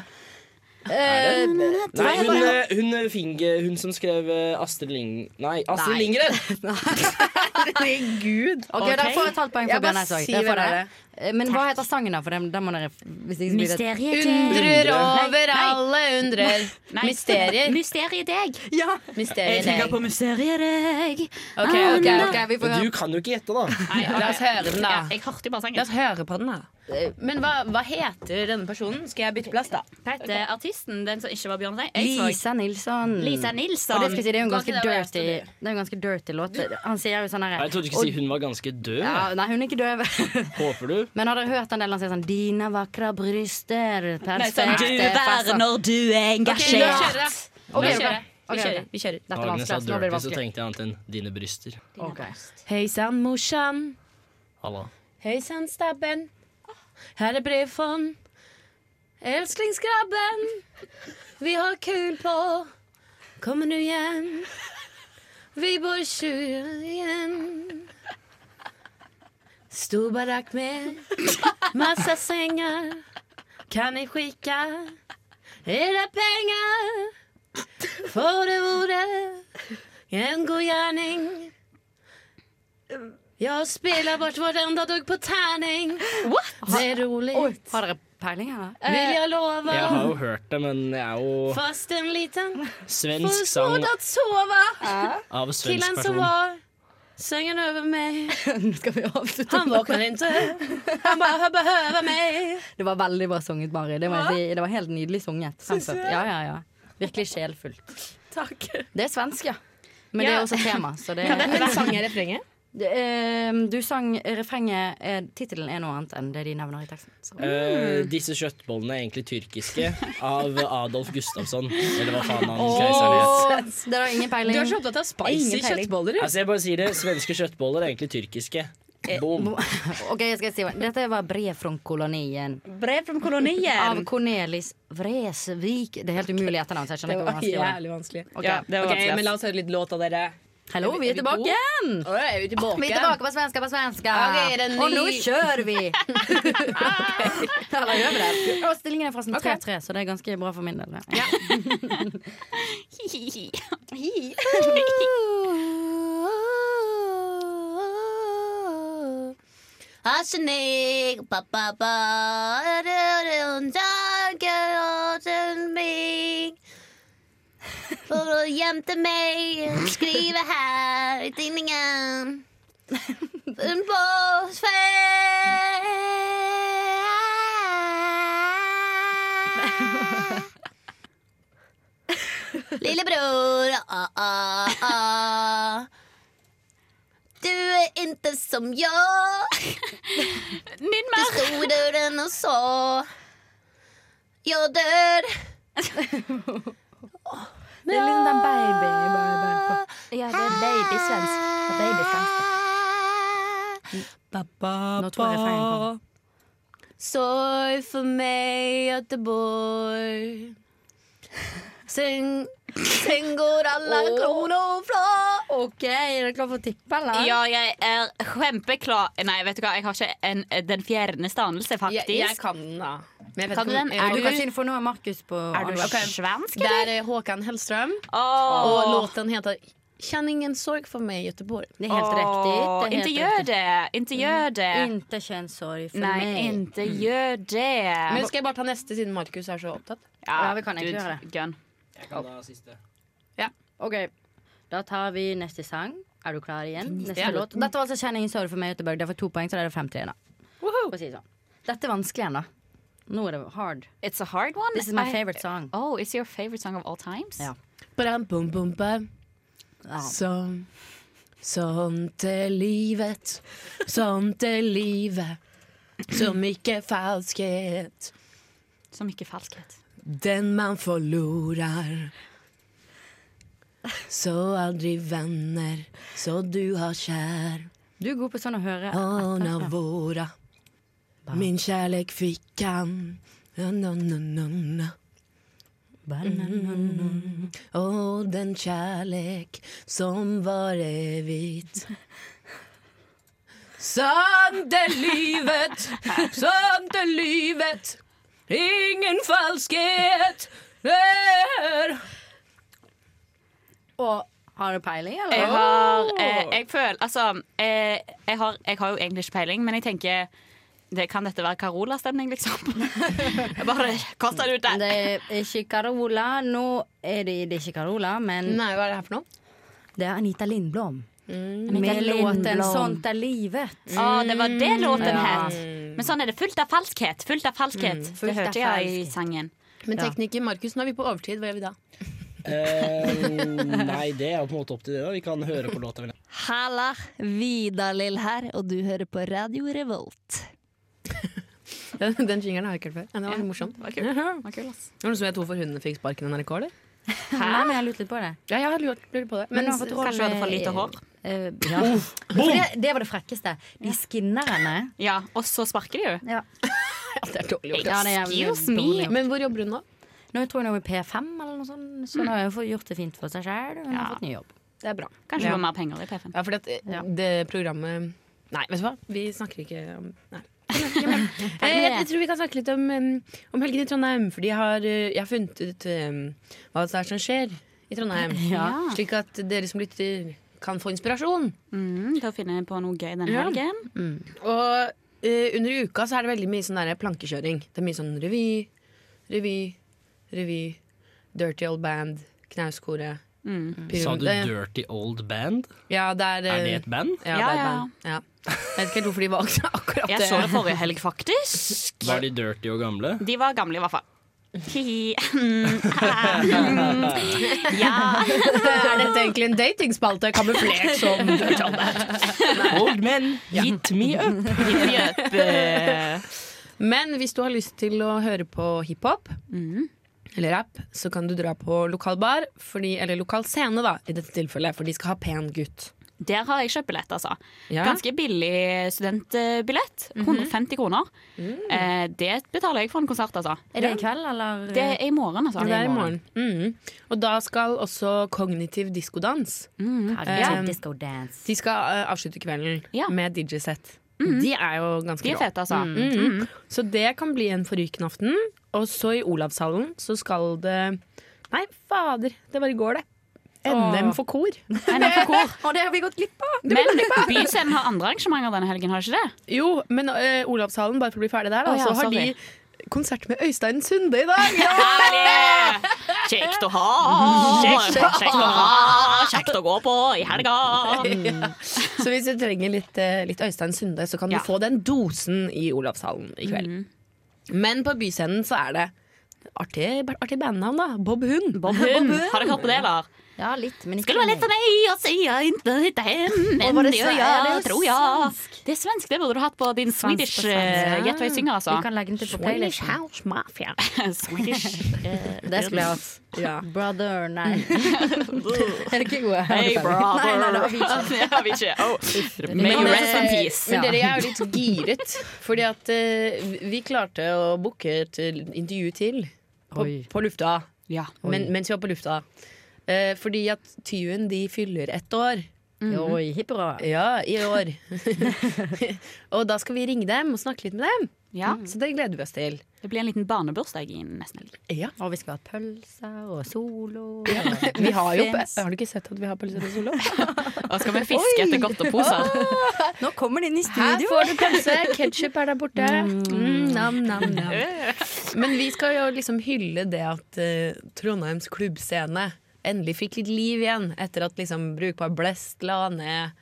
Nei, hun, eh, hun, eh, finger, hun som skrev eh, Astrid Ling... Nei, Astrid *laughs* Nei. Lindgren! Herregud. *laughs* Ok, Da får jeg et halvt poeng for Jeg bare Bjørn Eidsvåg. sier Det får det dere. Eh, Men hva heter sangen, da? For den, den må dere hvis ikke så blir det- Undrer over alle undrer. *laughs* Nei. Mysterier. Mysteriet deg. Ja. Jeg Mysteriet tenker deg. på mysteriet deg. Ok, ok, ok, vi får Men høre. Du kan jo ikke gjette, da. Nei, La oss høre den, da. Ja, jeg hørte jo bare sangen. La oss høre på den, da. Eh, Men hva, hva heter denne personen? Skal jeg bytte plass, da? Heter artisten den som ikke var Bjørn Eidsvåg? Lisa Nilsson. Lisa Nilsson. Og det, skal jeg si, det er jo en Går ganske ikke det å dirty være Det er jo en ganske dirty låt. Han sier jo sånn herre Jeg trodde du skulle si hun var ganske død. ja, Nei, hun er ikke døv. Håper du? *laughs* Men har dere hørt den delen han sier sånn Dina vakre bryster sånn, du perfekte verner når du er Ok, nå kjører engasjert. Ok, Vi ok. kjører. Vi Ok, kjører. ok. Vi kjører. Da Dette er Agnes sa vanskelig. ass. Nå blir det dirty, så vanskelig. tenkte jeg annet enn dine bryster. Hei sann, morsan. Halla. Hei sann, stabben. Her er brevfond. Elsklingskrabben. Vi har kul på. Kommer du hjem? Vi bor tjue igjen. Stor barrack med massa sängar. Kan ni skicka era pengar? For det vore en god gärning. Jeg spiller bort hverandre dugg på terning. Det er rolig. Har dere peiling her, da? Vil jeg love. Jeg har jo hørt det, men jeg er jo Fast en liten svensk sang forsmådd at sove. av svensk Killen person. som var sengen over *laughs* meg. Han Han våkner ikke. Han bare behøver meg. Det var veldig bra sunget, Mari. Det, må jeg si. det var helt nydelig sunget. Syns Fremført. du? Ja, ja, ja. Virkelig sjelfullt. *laughs* Takk. Det er svensk, ja. Men det Ja. er også tema. Så det Kan dette være sang i refrenget? Det, ehm, du sang refrenget eh, Tittelen er noe annet enn det de nevner i teksten. Så. Eh, Mm. disse kjøttbollene er egentlig tyrkiske, av Adolf Gustafsson. Eller hva faen han Åh, keiseren het. det er ingen peiling. Du er så opptatt av spicy Ingen peiling. kjøttboller. du. Altså, jeg bare sier det. Svenske kjøttboller er egentlig tyrkiske. Boom. Eh, *laughs* Ok, jeg skal si hva- Dette var brev fra kolonien. Brev fra kolonien. Av Cornelis Vresvik. Det er helt umulig etternavn. så jeg skjønner ikke hvor Det var vanskelig det var. jævlig vanskelig. Ok, Ja, det var ok, vanskelig, men ass. men la oss høre litt låt av dere. Hallo, vi er tilbake igjen! er vi tilbake? Vi er tilbake på svenska på svenska. Ok, er det en Og nå ny- kjører *laughs* vi! Eller gjør vi det? Og stillingen er forresten 3-3, så det er ganske bra for min del. Ja. *laughs* Arsenikk, ba-ba-ba For å gjemte meg Skrive her i tinningen En båsferd Lillebror, ah, ah, ah. Du är inte som jag Du stod i dörren och sa Jag dör Det er liksom den baby bare- bare på- Ja, det er babysvensk. Det er babysvensk. Nå tror jeg refrengen kom. Sorg for meg, Göteborg. Sen, sen går alle Åh. kroner fra OK, er dere klar for å tippe, eller? Ja, jeg er kjempeklar Nei, vet du hva, jeg har ikke en, den fjerneste anelse, faktisk. Jeg, jeg kan den, da. Men jeg vet Kan ikke du om- den? Er Du du- kan si For nå er Markus på Er du Ok. svensk, Det er eh, Håkan Hellström. Åh. Og låten heter 'Känn ingen sorg for meg, Göteborg'. Det er helt riktig. Det er Inte helt gjør det! Inte Mm. gjør det! Mm. Inte känn sorg for Nei, meg. inte gjør det! Men skal jeg bare ta neste, siden Markus er så opptatt? Ja, vi kan egentlig gjøre det. Gun. Jeg kan ta siste. OK. Da tar vi neste sang. Er du klar igjen? Neste Neste ja. låt. Dette var altså 'Kjenn ingen sorg for meg', Göteborg. Det er for to poeng, så det er det fem til igjen. da. For å Si det sånn. Dette er vanskelig igjen, da. Nå er det hard. It's a hard one. This is my I- favorite song. Oh, it's your favorite song of all times? Ja. Bram, bum, bum, bam. Sånn. Sånt er livet, sånt er livet. Som ikke falskhet. Som ikke falskhet. Den man forlorar. Så aldri venner, så du har kjær. Du er god på sånn å høre. Barn av våra. Min kärlek fick han. Na, na, na, na, na. Mm. Och den kärlek som var evigt. Sant är livet, sant är livet. Ingen falskhet där. Og har du peiling, eller? Jeg har eh, Oh. Jeg føler Altså, eh, jeg, har, jeg har jo egentlig ikke peiling, men jeg tenker det, Kan dette være Carola-stemning, *laughs* liksom? Jeg Bare kast den ut der. Det er ikke Carola. Nå er det, det er ikke Carola, men Nei, hva er det her for noe? Det er Anita Lindblom. Med Anita låten Sånn Lindblom. 'Sånt er livet'. Å, det var det låten Ja. het. Men sånn er det fullt av falskhet. Fullt av falskhet. Mm, det fullt av hørte jeg i falskhet. sangen. Men tekniker Markus, nå er vi på overtid. Hva gjør vi da? Eh, nei, det er jo på en måte opp til det. da Vi kan høre på låta. vel. Halla, Vidar-Lill her, og du hører på Radio Revolt. Den, *laughs* den jingeren har jeg ikke hørt før. Ja, det var morsomt. Det var kul. Mhm. Det var kul, ass. Var det noen som vet hvorfor hundene fikk sparken i NRK, eller? Nei, men jeg har lurt litt på det. Ja, jeg har lurt, lurt på det. Men nå får trollen- kanskje var det for lite hår? Eh, ja. Uff, For det, det var det frekkeste. De skinner henne. Ja, og så sparker de jo. Ja. det er dårlig Ja, det er jævlig Excuse dårlig me. gjort. Men hvor jobber hun nå? Nå tror jeg hun er P5 eller noe sånt, så Mm. nå har hun fått gjort det fint for seg sjøl. Hun Ja. har fått ny jobb. Det er bra. Kanskje det Ja. var mer penger i P5. Ja, fordi at eh, det programmet Nei, vet du hva? Vi snakker ikke om Nei. *laughs* Eh, Jeg, jeg tror vi kan snakke litt om, em, om helgen i Trondheim. Fordi jeg har, eh, jeg har funnet ut em, hva det er som skjer i Trondheim. *laughs* Ja. Slik at dere som lytter, kan få inspirasjon. Mm, til å finne på noe gøy den Ja. helgen. Mm. Og eh, under uka så er det veldig mye sånn der plankekjøring. Det er mye sånn revy, revy, revy. Dirty Old Band, Knauskoret. Mm. pyro- Sa du det- Dirty Old Band? Ja, det er, Er eh, det et band? Ja, Ja, det er et ja. band. Ja. Jeg vet ikke helt hvorfor de valgte *laughs* akkurat Jeg det. så det forrige helg, *laughs* faktisk. Var de dirty og gamle? *laughs* De var gamle, i hvert fall. *laughs* Hihi. ja. *laughs* er dette egentlig en datingspalte? Kamuflert *laughs* som *laughs* Dirty Old Band. Old men, hit me up. *laughs* Eh, Men hvis du har lyst til å høre på hiphop Mm. eller rapp, så kan du dra på lokal bar, fordi, eller lokal scene da, i dette tilfellet, for de skal ha pen gutt. Der har jeg kjøpt billett, altså. Ja. Ganske billig studentbillett. Mhm. 150 kroner. Eh, det betaler jeg for en konsert, altså. Mm. Er det i kveld, eller? Det er i morgen, altså. Det er i morgen. Mhm. Og da skal også kognitiv diskodans. Mm. Cognitive Eh, disco dance. De skal eh, avslutte kvelden med DJ-sett. De er jo ganske Mm. De er rå. fete, altså. Mhm. Mhm. Så det kan bli en forrykende aften. Og så i Olavshallen så skal det Nei, fader, det var i går, det. NM for kor. NM for *laughs* kor. *laughs* Og det har vi gått glipp av! Men Byscenen har *laughs* andre arrangementer denne helgen, har de ikke det? Jo, men eh, Olavshallen, bare for å bli ferdig der, da, Å, ja, så har sorry. de konsert med Øystein Sunde i *laughs* dag! Ja! Eh, *laughs* Kjekt å ha! Kjekt å ha. Kjekt å ha! Kjekt å gå på i helga! Ja. Så hvis du trenger litt, eh, litt Øystein Sunde, så kan Ja. du få den dosen i Olavshallen i kveld. Men på Byscenen så er det artig, artig bandnavn, da. Bob Hund. Bob Hund. Har dere hørt på det, eller? Ja, litt, men ikke Skulle være lett for meg å si jeg ikke heter hen, Å, men var det det sve- gjør ja, det er jeg, jo tror jeg. svensk. Det er svensk, det burde du hatt på din Svensk på Swedish svensk. eh, Get Way Singer, altså. Vi kan legge den til på Swedish playlisten. House *laughs* Mafia. Swedish eh, Det skulle jeg hatt. *laughs* Ja. Brother, *laughs* nei. er det ikke gode? Hey, brother. Nei, nei, det var ikke. *laughs* Ja, vi ikke. Oh. May Men, you rest in eh, peace. men Ja. *laughs* dere er jo litt giret, fordi at eh, vi- vi klarte å booke et eh, intervju til på, Oi. på lufta. Oi. Men, mens vi var på lufta. Eh, fordi at Tyven de fyller ett år. Mm. Mhm. Oi, hipp hurra. Ja, i år. *laughs* og da skal vi ringe dem og snakke litt med dem. Ja. Så det gleder vi oss til. Det blir en liten barnebursdag i nesten helg. Ja. Og vi skal ha pølser og solo. *laughs* Vi har jo Har du ikke sett at vi har pølser og solo? *laughs* Og skal vi fiske etter godteposer. *laughs* Nå kommer det inn i Her studio. får du pølse, *laughs* ketsjup er der borte. Mm, nam, nam, nam. *laughs* Men vi skal jo liksom hylle det at eh, Trondheims klubbscene endelig fikk litt liv igjen etter at liksom Brukbar Blest la ned,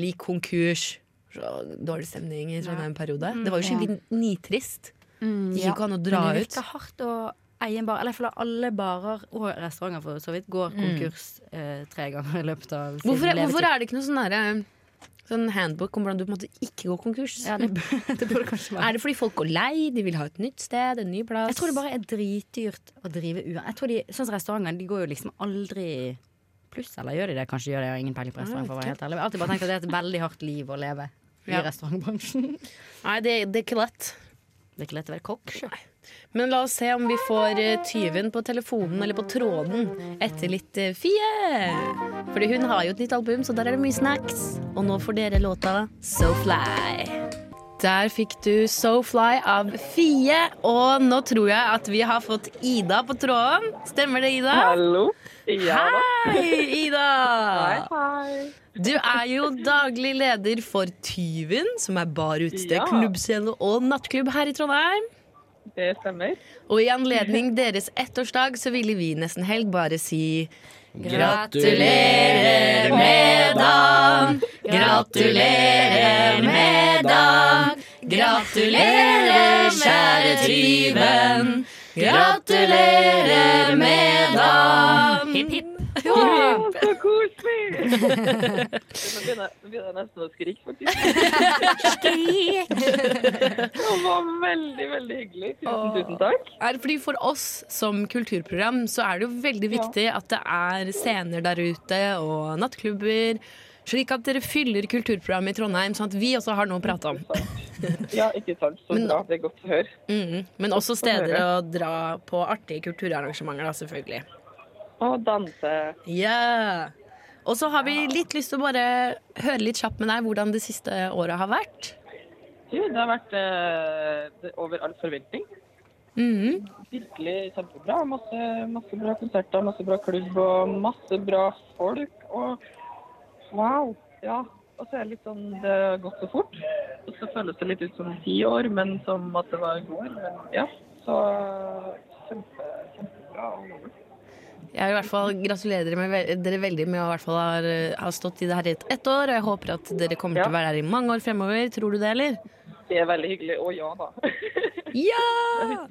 lik konkurs, så dårlig stemning i Trondheim en periode. Det var jo skikkelig nitrist. Mm, Det gikk ikke an å dra Men det ut. virker hardt å eie en bar. Eller jeg føler alle barer og restauranter for så vidt går konkurs eh, tre ganger i løpet av sin Mm. Hvorfor, levetid. hvorfor *laughs* er det ikke noe sånn derre Sånn handbook om hvordan du på en måte ikke går konkurs. *laughs* Er det fordi folk går lei, de vil ha et nytt sted, en ny plass? Jeg tror det bare er dritdyrt å drive uansett. Jeg tror de, sånn som restaurantene, de går jo liksom aldri i pluss, eller gjør de det? Kanskje gjør de det, jeg har ingen peiling på restaurant, for å være helt ærlig. Jeg har alltid bare tenkt at det er et veldig hardt liv å leve Ja. i restaurantbransjen. Nei, det, det er ikke lett. Det er ikke lett å være kokk. sjø. Men la oss se om vi får eh, tyven på telefonen eller på tråden etter litt eh, Fie. Fordi hun har jo et nytt album, så der er det mye snacks. Og nå får dere låta So Fly. Der fikk du So Fly av Fie. Og nå tror jeg at vi har fått Ida på tråden. Stemmer det, Ida? Hallo. Ja da. Hei, Ida! Hei, hei. Du er jo daglig leder for Tyven, som er bar, utested, Ja. klubbscene og nattklubb her i Trondheim. Det stemmer. Og i anledning *laughs* deres ettårsdag så ville vi nesten helg bare si Gratulerer med dagen. Gratulerer med dagen. Gratulerer, kjære tyven. Gratulerer med dagen. Hipp, hipp. Ja, så *laughs* koselig! Nå begynner, nå begynner jeg nesten å skrike, faktisk. Det var veldig, veldig hyggelig. Tusen, tusen takk. Er det fordi For oss som kulturprogram så er det jo veldig viktig at det er scener der ute og nattklubber, slik at dere fyller kulturprogrammet i Trondheim, sånn at vi også har noe å prate om. Ja, ikke sant. Så bra. Det er godt å høre. Mhm. Men også steder å dra på artige kulturarrangementer, da, selvfølgelig. Og danse. Ja. Og så har vi litt lyst til å bare høre litt kjapt med deg hvordan det siste året har vært. Jo, det har vært eh, det- over all forventning. Mhm. Virkelig kjempebra. Masse, masse bra konserter, masse bra klubb og masse bra folk. Og wow! Ja. Og så er det litt sånn Det har gått så fort. Og så føles det litt ut som ti år, men som at det var i går. Men ja. Så kjempe, kjempebra. all over. Jeg vil i hvert fall gratulere dere, med, ve- dere veldig med å i hvert fall ha, ha stått i det her i et- ett år, og jeg håper at dere kommer til å være her i mange år fremover. Tror du det, eller? Det er veldig hyggelig. Å ja *laughs* da. Ja!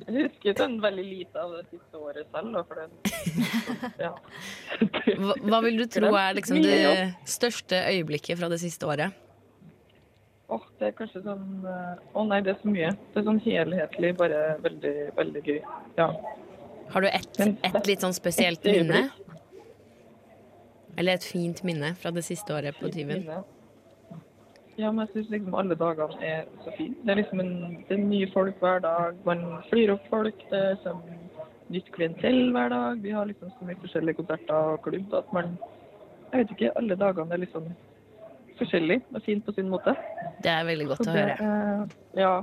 Jeg husker sånn veldig lite av det siste året selv. Da, for det Hva, hva vil *laughs* du tro er liksom det største øyeblikket fra det siste året? Åh, det er kanskje sånn eh, Å nei, det er så mye. Det er sånn helhetlig, bare veldig, veldig gøy. Ja. Har du ett et litt sånn spesielt Et minne? øyeblikk. Eller et fint minne fra det siste året på Tyven? minne. Ja, men jeg syns liksom alle dagene er så fine. Det er liksom en, det er nye folk hver dag. Man flyr opp folk. Det er som nytt klientell hver dag. Vi har liksom så mye forskjellige konserter og klubb at man Jeg vet ikke. Alle dagene er liksom forskjellig og fint på sin måte. Det er veldig godt Så å det høre. er- Ja.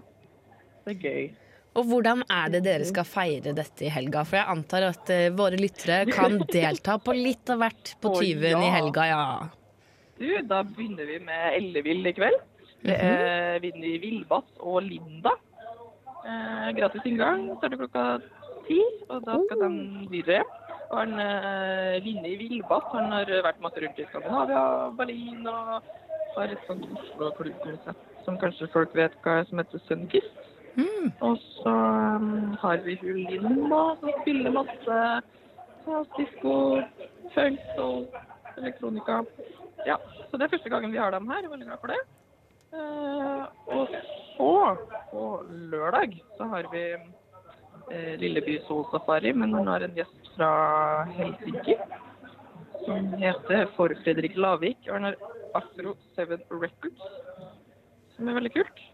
Det er gøy. Og hvordan er det dere skal feire dette i helga? For jeg antar at eh, våre lyttere *laughs* kan delta på litt av hvert på Å, Tyven i ja. helga, ja. Du, da begynner vi med Ellevill i kveld. Det er Vinni Vilbass og Linda. Eh, gratis inngang starter klokka ti, og da skal de videre. Og han, eh, Vinni Vilbass han har vært masse rundt i Skandinavia, Berlin og har et sånt Oslo-klubbkonsept som kanskje folk vet hva er, som heter Sunkiss. Og så um, har vi hun Linda som spiller masse jazz, disko, Pølse og elektronika. Ja, så det er første gangen vi har dem her. Jeg er veldig glad for det. Eh, og så, på lørdag, så har vi eh, Lilleby solsafari, men han har en gjest fra Helsinki som heter For Fredrik Lavik. Og han har Afro Seven Records, som er veldig kult.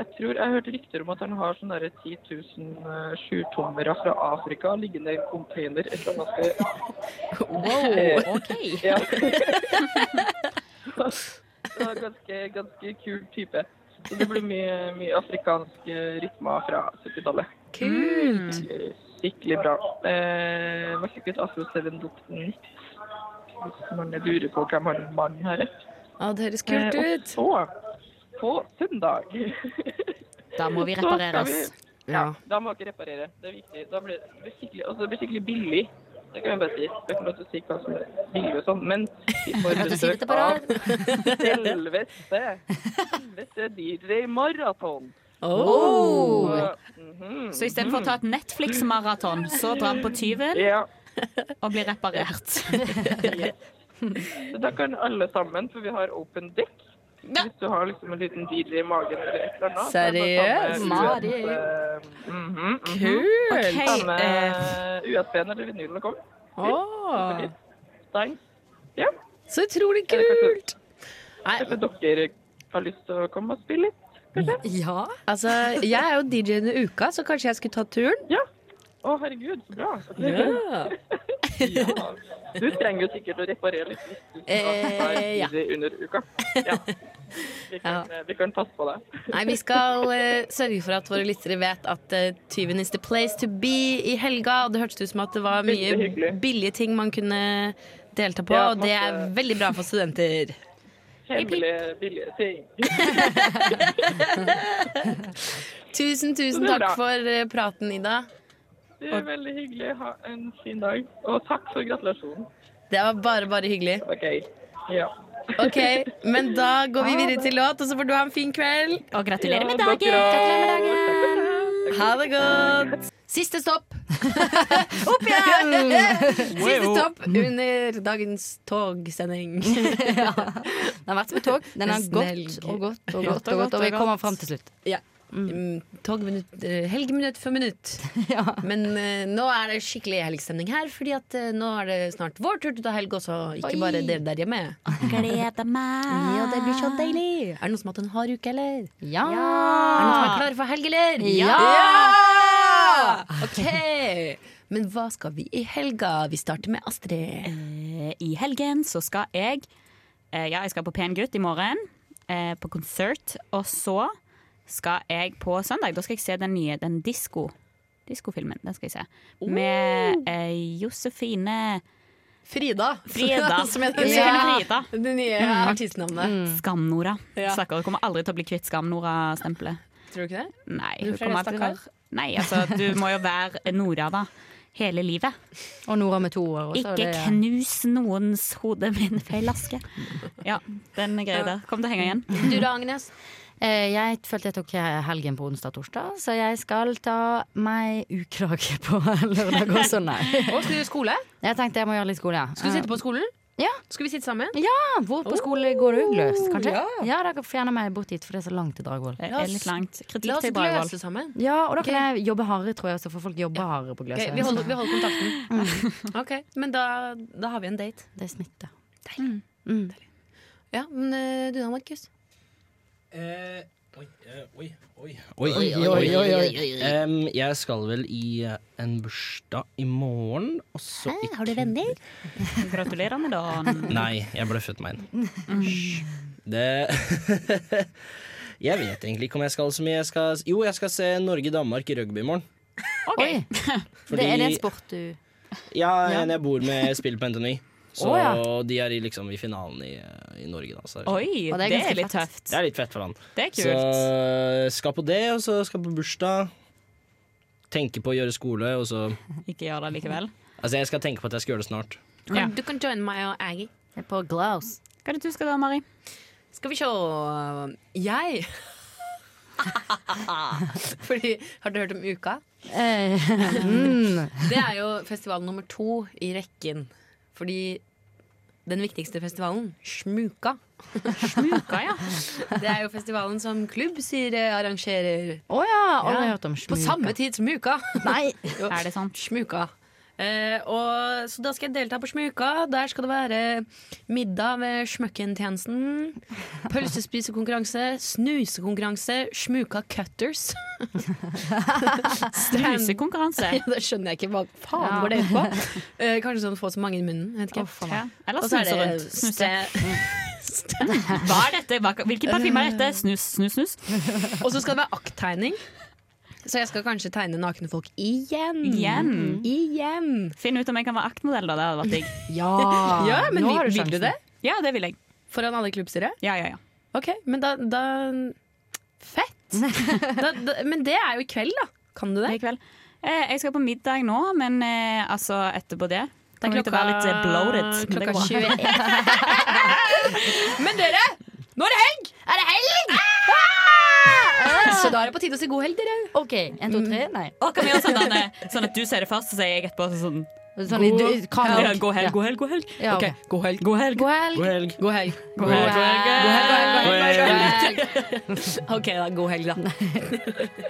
Jeg tror jeg hørte rykter om at han har sånne der 10 000 eh, sjutommere fra Afrika liggende i en container et eller annet sted. Wow, Eh, ok. *laughs* ja. *laughs* Så ganske, ganske kul type. Så det blir mye, mye afrikanske rytmer fra 70-tallet. Kult. Eh, Skikkelig bra. Eh, var sikkert Afro 7-dukten hvis man lurer på hvem han mannen her er. Ja, det høres kult Eh, ut. Og så, på søndag *laughs* Da må vi *laughs* Så skal repareres. vi- Ja, da må dere reparere. Det er viktig. Da blir det blir skikkelig, altså det blir skikkelig billig. Det kan jeg bare si. Jeg kommer til å si hva som er billig og sånn, men vi får Kan du si besøk dette på av rad? selveste, selveste DJ Maraton. Oh. Så, mhm, Så i stedet for å ta et Netflix-maraton, så drar han på tyven Ja. og blir *laughs* reparert. Så da kan alle sammen, for vi har open deck. Hvis du har liksom en liten DJ i magen eller et eller annet. så er det bare å ta med eh, Seriøst? USB, mhm, mhm. Kult. Ok, Ta med eh. USB-en eller vinylen kommer. Åh. Stein. Ja. Så utrolig kult! Kanskje dere har lyst til å komme og spille litt? Ja. Altså, jeg er jo DJ-en i uka, så kanskje jeg skulle ta turen? Ja. Å, herregud, så bra. Ja. Ja. *laughs* Du trenger jo sikkert å reparere litt hvis du har Eh, ja. DJ under uka. Ja. Vi kan, eh, vi kan passe på deg. Nei, vi skal *laughs* eh, sørge for at våre lyttere vet at eh, tyven is the place to be i helga. Og det hørtes ut som at det var mye Veldig hyggelig. billige ting man kunne delta på, Ja, og det er masse- veldig bra for studenter. Hemmelige, billige ting. Tusen, Så tusen det er takk bra. for eh, praten, Ida. Det er veldig hyggelig. Ha en fin dag. Og takk for gratulasjonen. Det var bare, bare hyggelig. OK. Ja. Ok, Men da går vi videre til låt, og så får du ha en fin kveld. Og gratulerer Ja, med takk dagen! også. Ha det godt. Siste stopp. *laughs* *laughs* Opp igjen! Siste Wow. stopp under dagens *laughs* togsending. Den har vært som et tog. Den har Snill. gått og gått og gått, og gått, og vi kommer fram til slutt. Ja. Mm, Tog minutt, eh, helg minutt for minutt. *laughs* Men eh, nå er det skikkelig helgstemning her, Fordi at eh, nå er det snart vår tur til å ta helg også. Oi. Ikke bare dere der hjemme. Gleder meg. Ja, det blir så deilig. Er det noen som har hatt en hard uke, eller? Ja. Er det noen som er klare for helg, eller? Ja. Ja! Ok. Men hva skal vi i helga? Vi starter med Astrid. Eh, I helgen så skal jeg eh, Ja, jeg skal på Pen gutt i morgen, eh, på konsert. Og så skal jeg på søndag, da skal jeg se den nye, den disko. Diskofilmen, den skal jeg se. Med eh, Josefine Oh. Frida. Frida. *laughs* Som heter Josefine Ja, Frida. det nye artistnavnet. Mm. Skam-Nora. Ja. Stakkar, hun kommer aldri til å bli kvitt Skam-Nora-stempelet. Tror du ikke det? Nei, Hvorfor er hun det kommer alltid til å stakkar? være Nei, altså, du må jo være Nora, da. Hele livet. Og Nora med to år. også, Ikke det er- knus noens hode med en feil aske. Ja, den er grei der. Kom til å henge igjen. Du da, Agnes? *laughs* Eh, Jeg følte jeg tok eh, helgen på onsdag og torsdag, så jeg skal ta meg ukrage på *laughs* lørdag og søndag. Og skal du skole? Jeg tenkte jeg må gjøre litt skole, ja. Skal du sitte på skolen? Ja. Skal vi sitte sammen? Ja, hvor på skole går det ugløst, kanskje? Oh, ja. Ja, dere kan fjerne meg bort dit, for det er så langt til Dragvoll. Det er litt langt. La Kritikk oss til Dragvoll. gløse sammen. Ja, og da kan jeg jobbe hardere, tror jeg, så får folk jobbe hardere på Ok, Gløshaugen. vi, holder, vi *laughs* holder kontakten. *laughs* Ok, Men da, da har vi en date. Det er smitte. Mm. Ja, men eh, du da, Markus? Eh, oi, eh, oi, oi. Oi, oi, oi, oi, oi, oi, Eh. oi. Em, jeg skal vel i eh, en bursdag i morgen, og så i Har du venner? Gratulerer med dagen. Nei, jeg bløffet meg inn. Mm. Det *laughs* Jeg vet egentlig ikke om jeg skal så mye. Jeg skal... Jo, jeg skal se Norge-Danmark i rugby i morgen. *laughs* Oi. Fordi- Det er det en sport du Ja, en jeg bor med, spiller på NTNU. Så Å, ja. de er i, liksom i finalen i, eh, i Norge, da. Så, Oi, Og det er det er ganske litt fett. tøft. Det er litt fett for han. Det er kult. Så skal på det, og så skal på bursdag. Tenke på å gjøre skole, og så Ikke gjør det likevel. Altså, jeg skal tenke på at jeg skal gjøre det snart. Du kan, du kan joine meg og Aggie. På Glows. Hva er det du skal da, Mari? Skal vi sjå Jeg *laughs* Fordi, Har du hørt om Uka? eh, *laughs* mm. *laughs* Det er jo festival nummer to i rekken Fordi den viktigste festivalen, Smuka Det er jo festivalen som klubb sier eh, arrangerer. Å ja, aldri hørt om På Smuka. samme tid som uka! *laughs* Nei, er det sant? Smuka. Eh, og, så da skal jeg delta på Smuka. Der skal det være middag ved Smøkken-tjenesten. Pølsespisekonkurranse, snusekonkurranse, Smuka *laughs* Cutters. Stand- Snusekonkurranse. Ja, *laughs* det skjønner jeg ikke hva faen Ja. går det ut på. *laughs* Eh, kanskje sånn få så mange i munnen. Vet ikke. Ja. Eller Og så er snuse det rundt. Snuse. Mm. ste- Hva er dette? Hva- Hvilken parfyme er dette? Snus, snus, snus. *laughs* Og så skal det være akttegning. Så jeg skal kanskje tegne nakne folk igjen. Igjen. Igjen. Finn ut om jeg kan være aktmodell, da. Det hadde vært digg. Ja. *laughs* Ja, men vil- vil du det? Ja, det vil jeg. Foran alle i klubbstyret? Ja, ja, ja. Ok, men da, da *laughs* Fett! da, da, men det er jo i kveld, da. Kan du det? I kveld. Eh, jeg skal på middag nå, men eh, altså etterpå det. Det er Kommer jeg til å være litt eh, bloated. *laughs* men det klokka går. 21. *laughs* men dere, nå er det helg! Ah! Er det helg? Ah! Så da er det på tide å si god helg, dere. OK. En, to, tre. Nei. Å, kan vi gjøre sånn, Anne? sånn at du sier det først, så sier jeg etterpå sånn Sånn i du- hva helg? Ja, God helg, Ja. god helg, god helg. Ja, Ok, ok. God helg, god helg. God helg. God helg. God helg, god helg, god *laughs* helg, god helg. God helg. OK, da. God helg, da.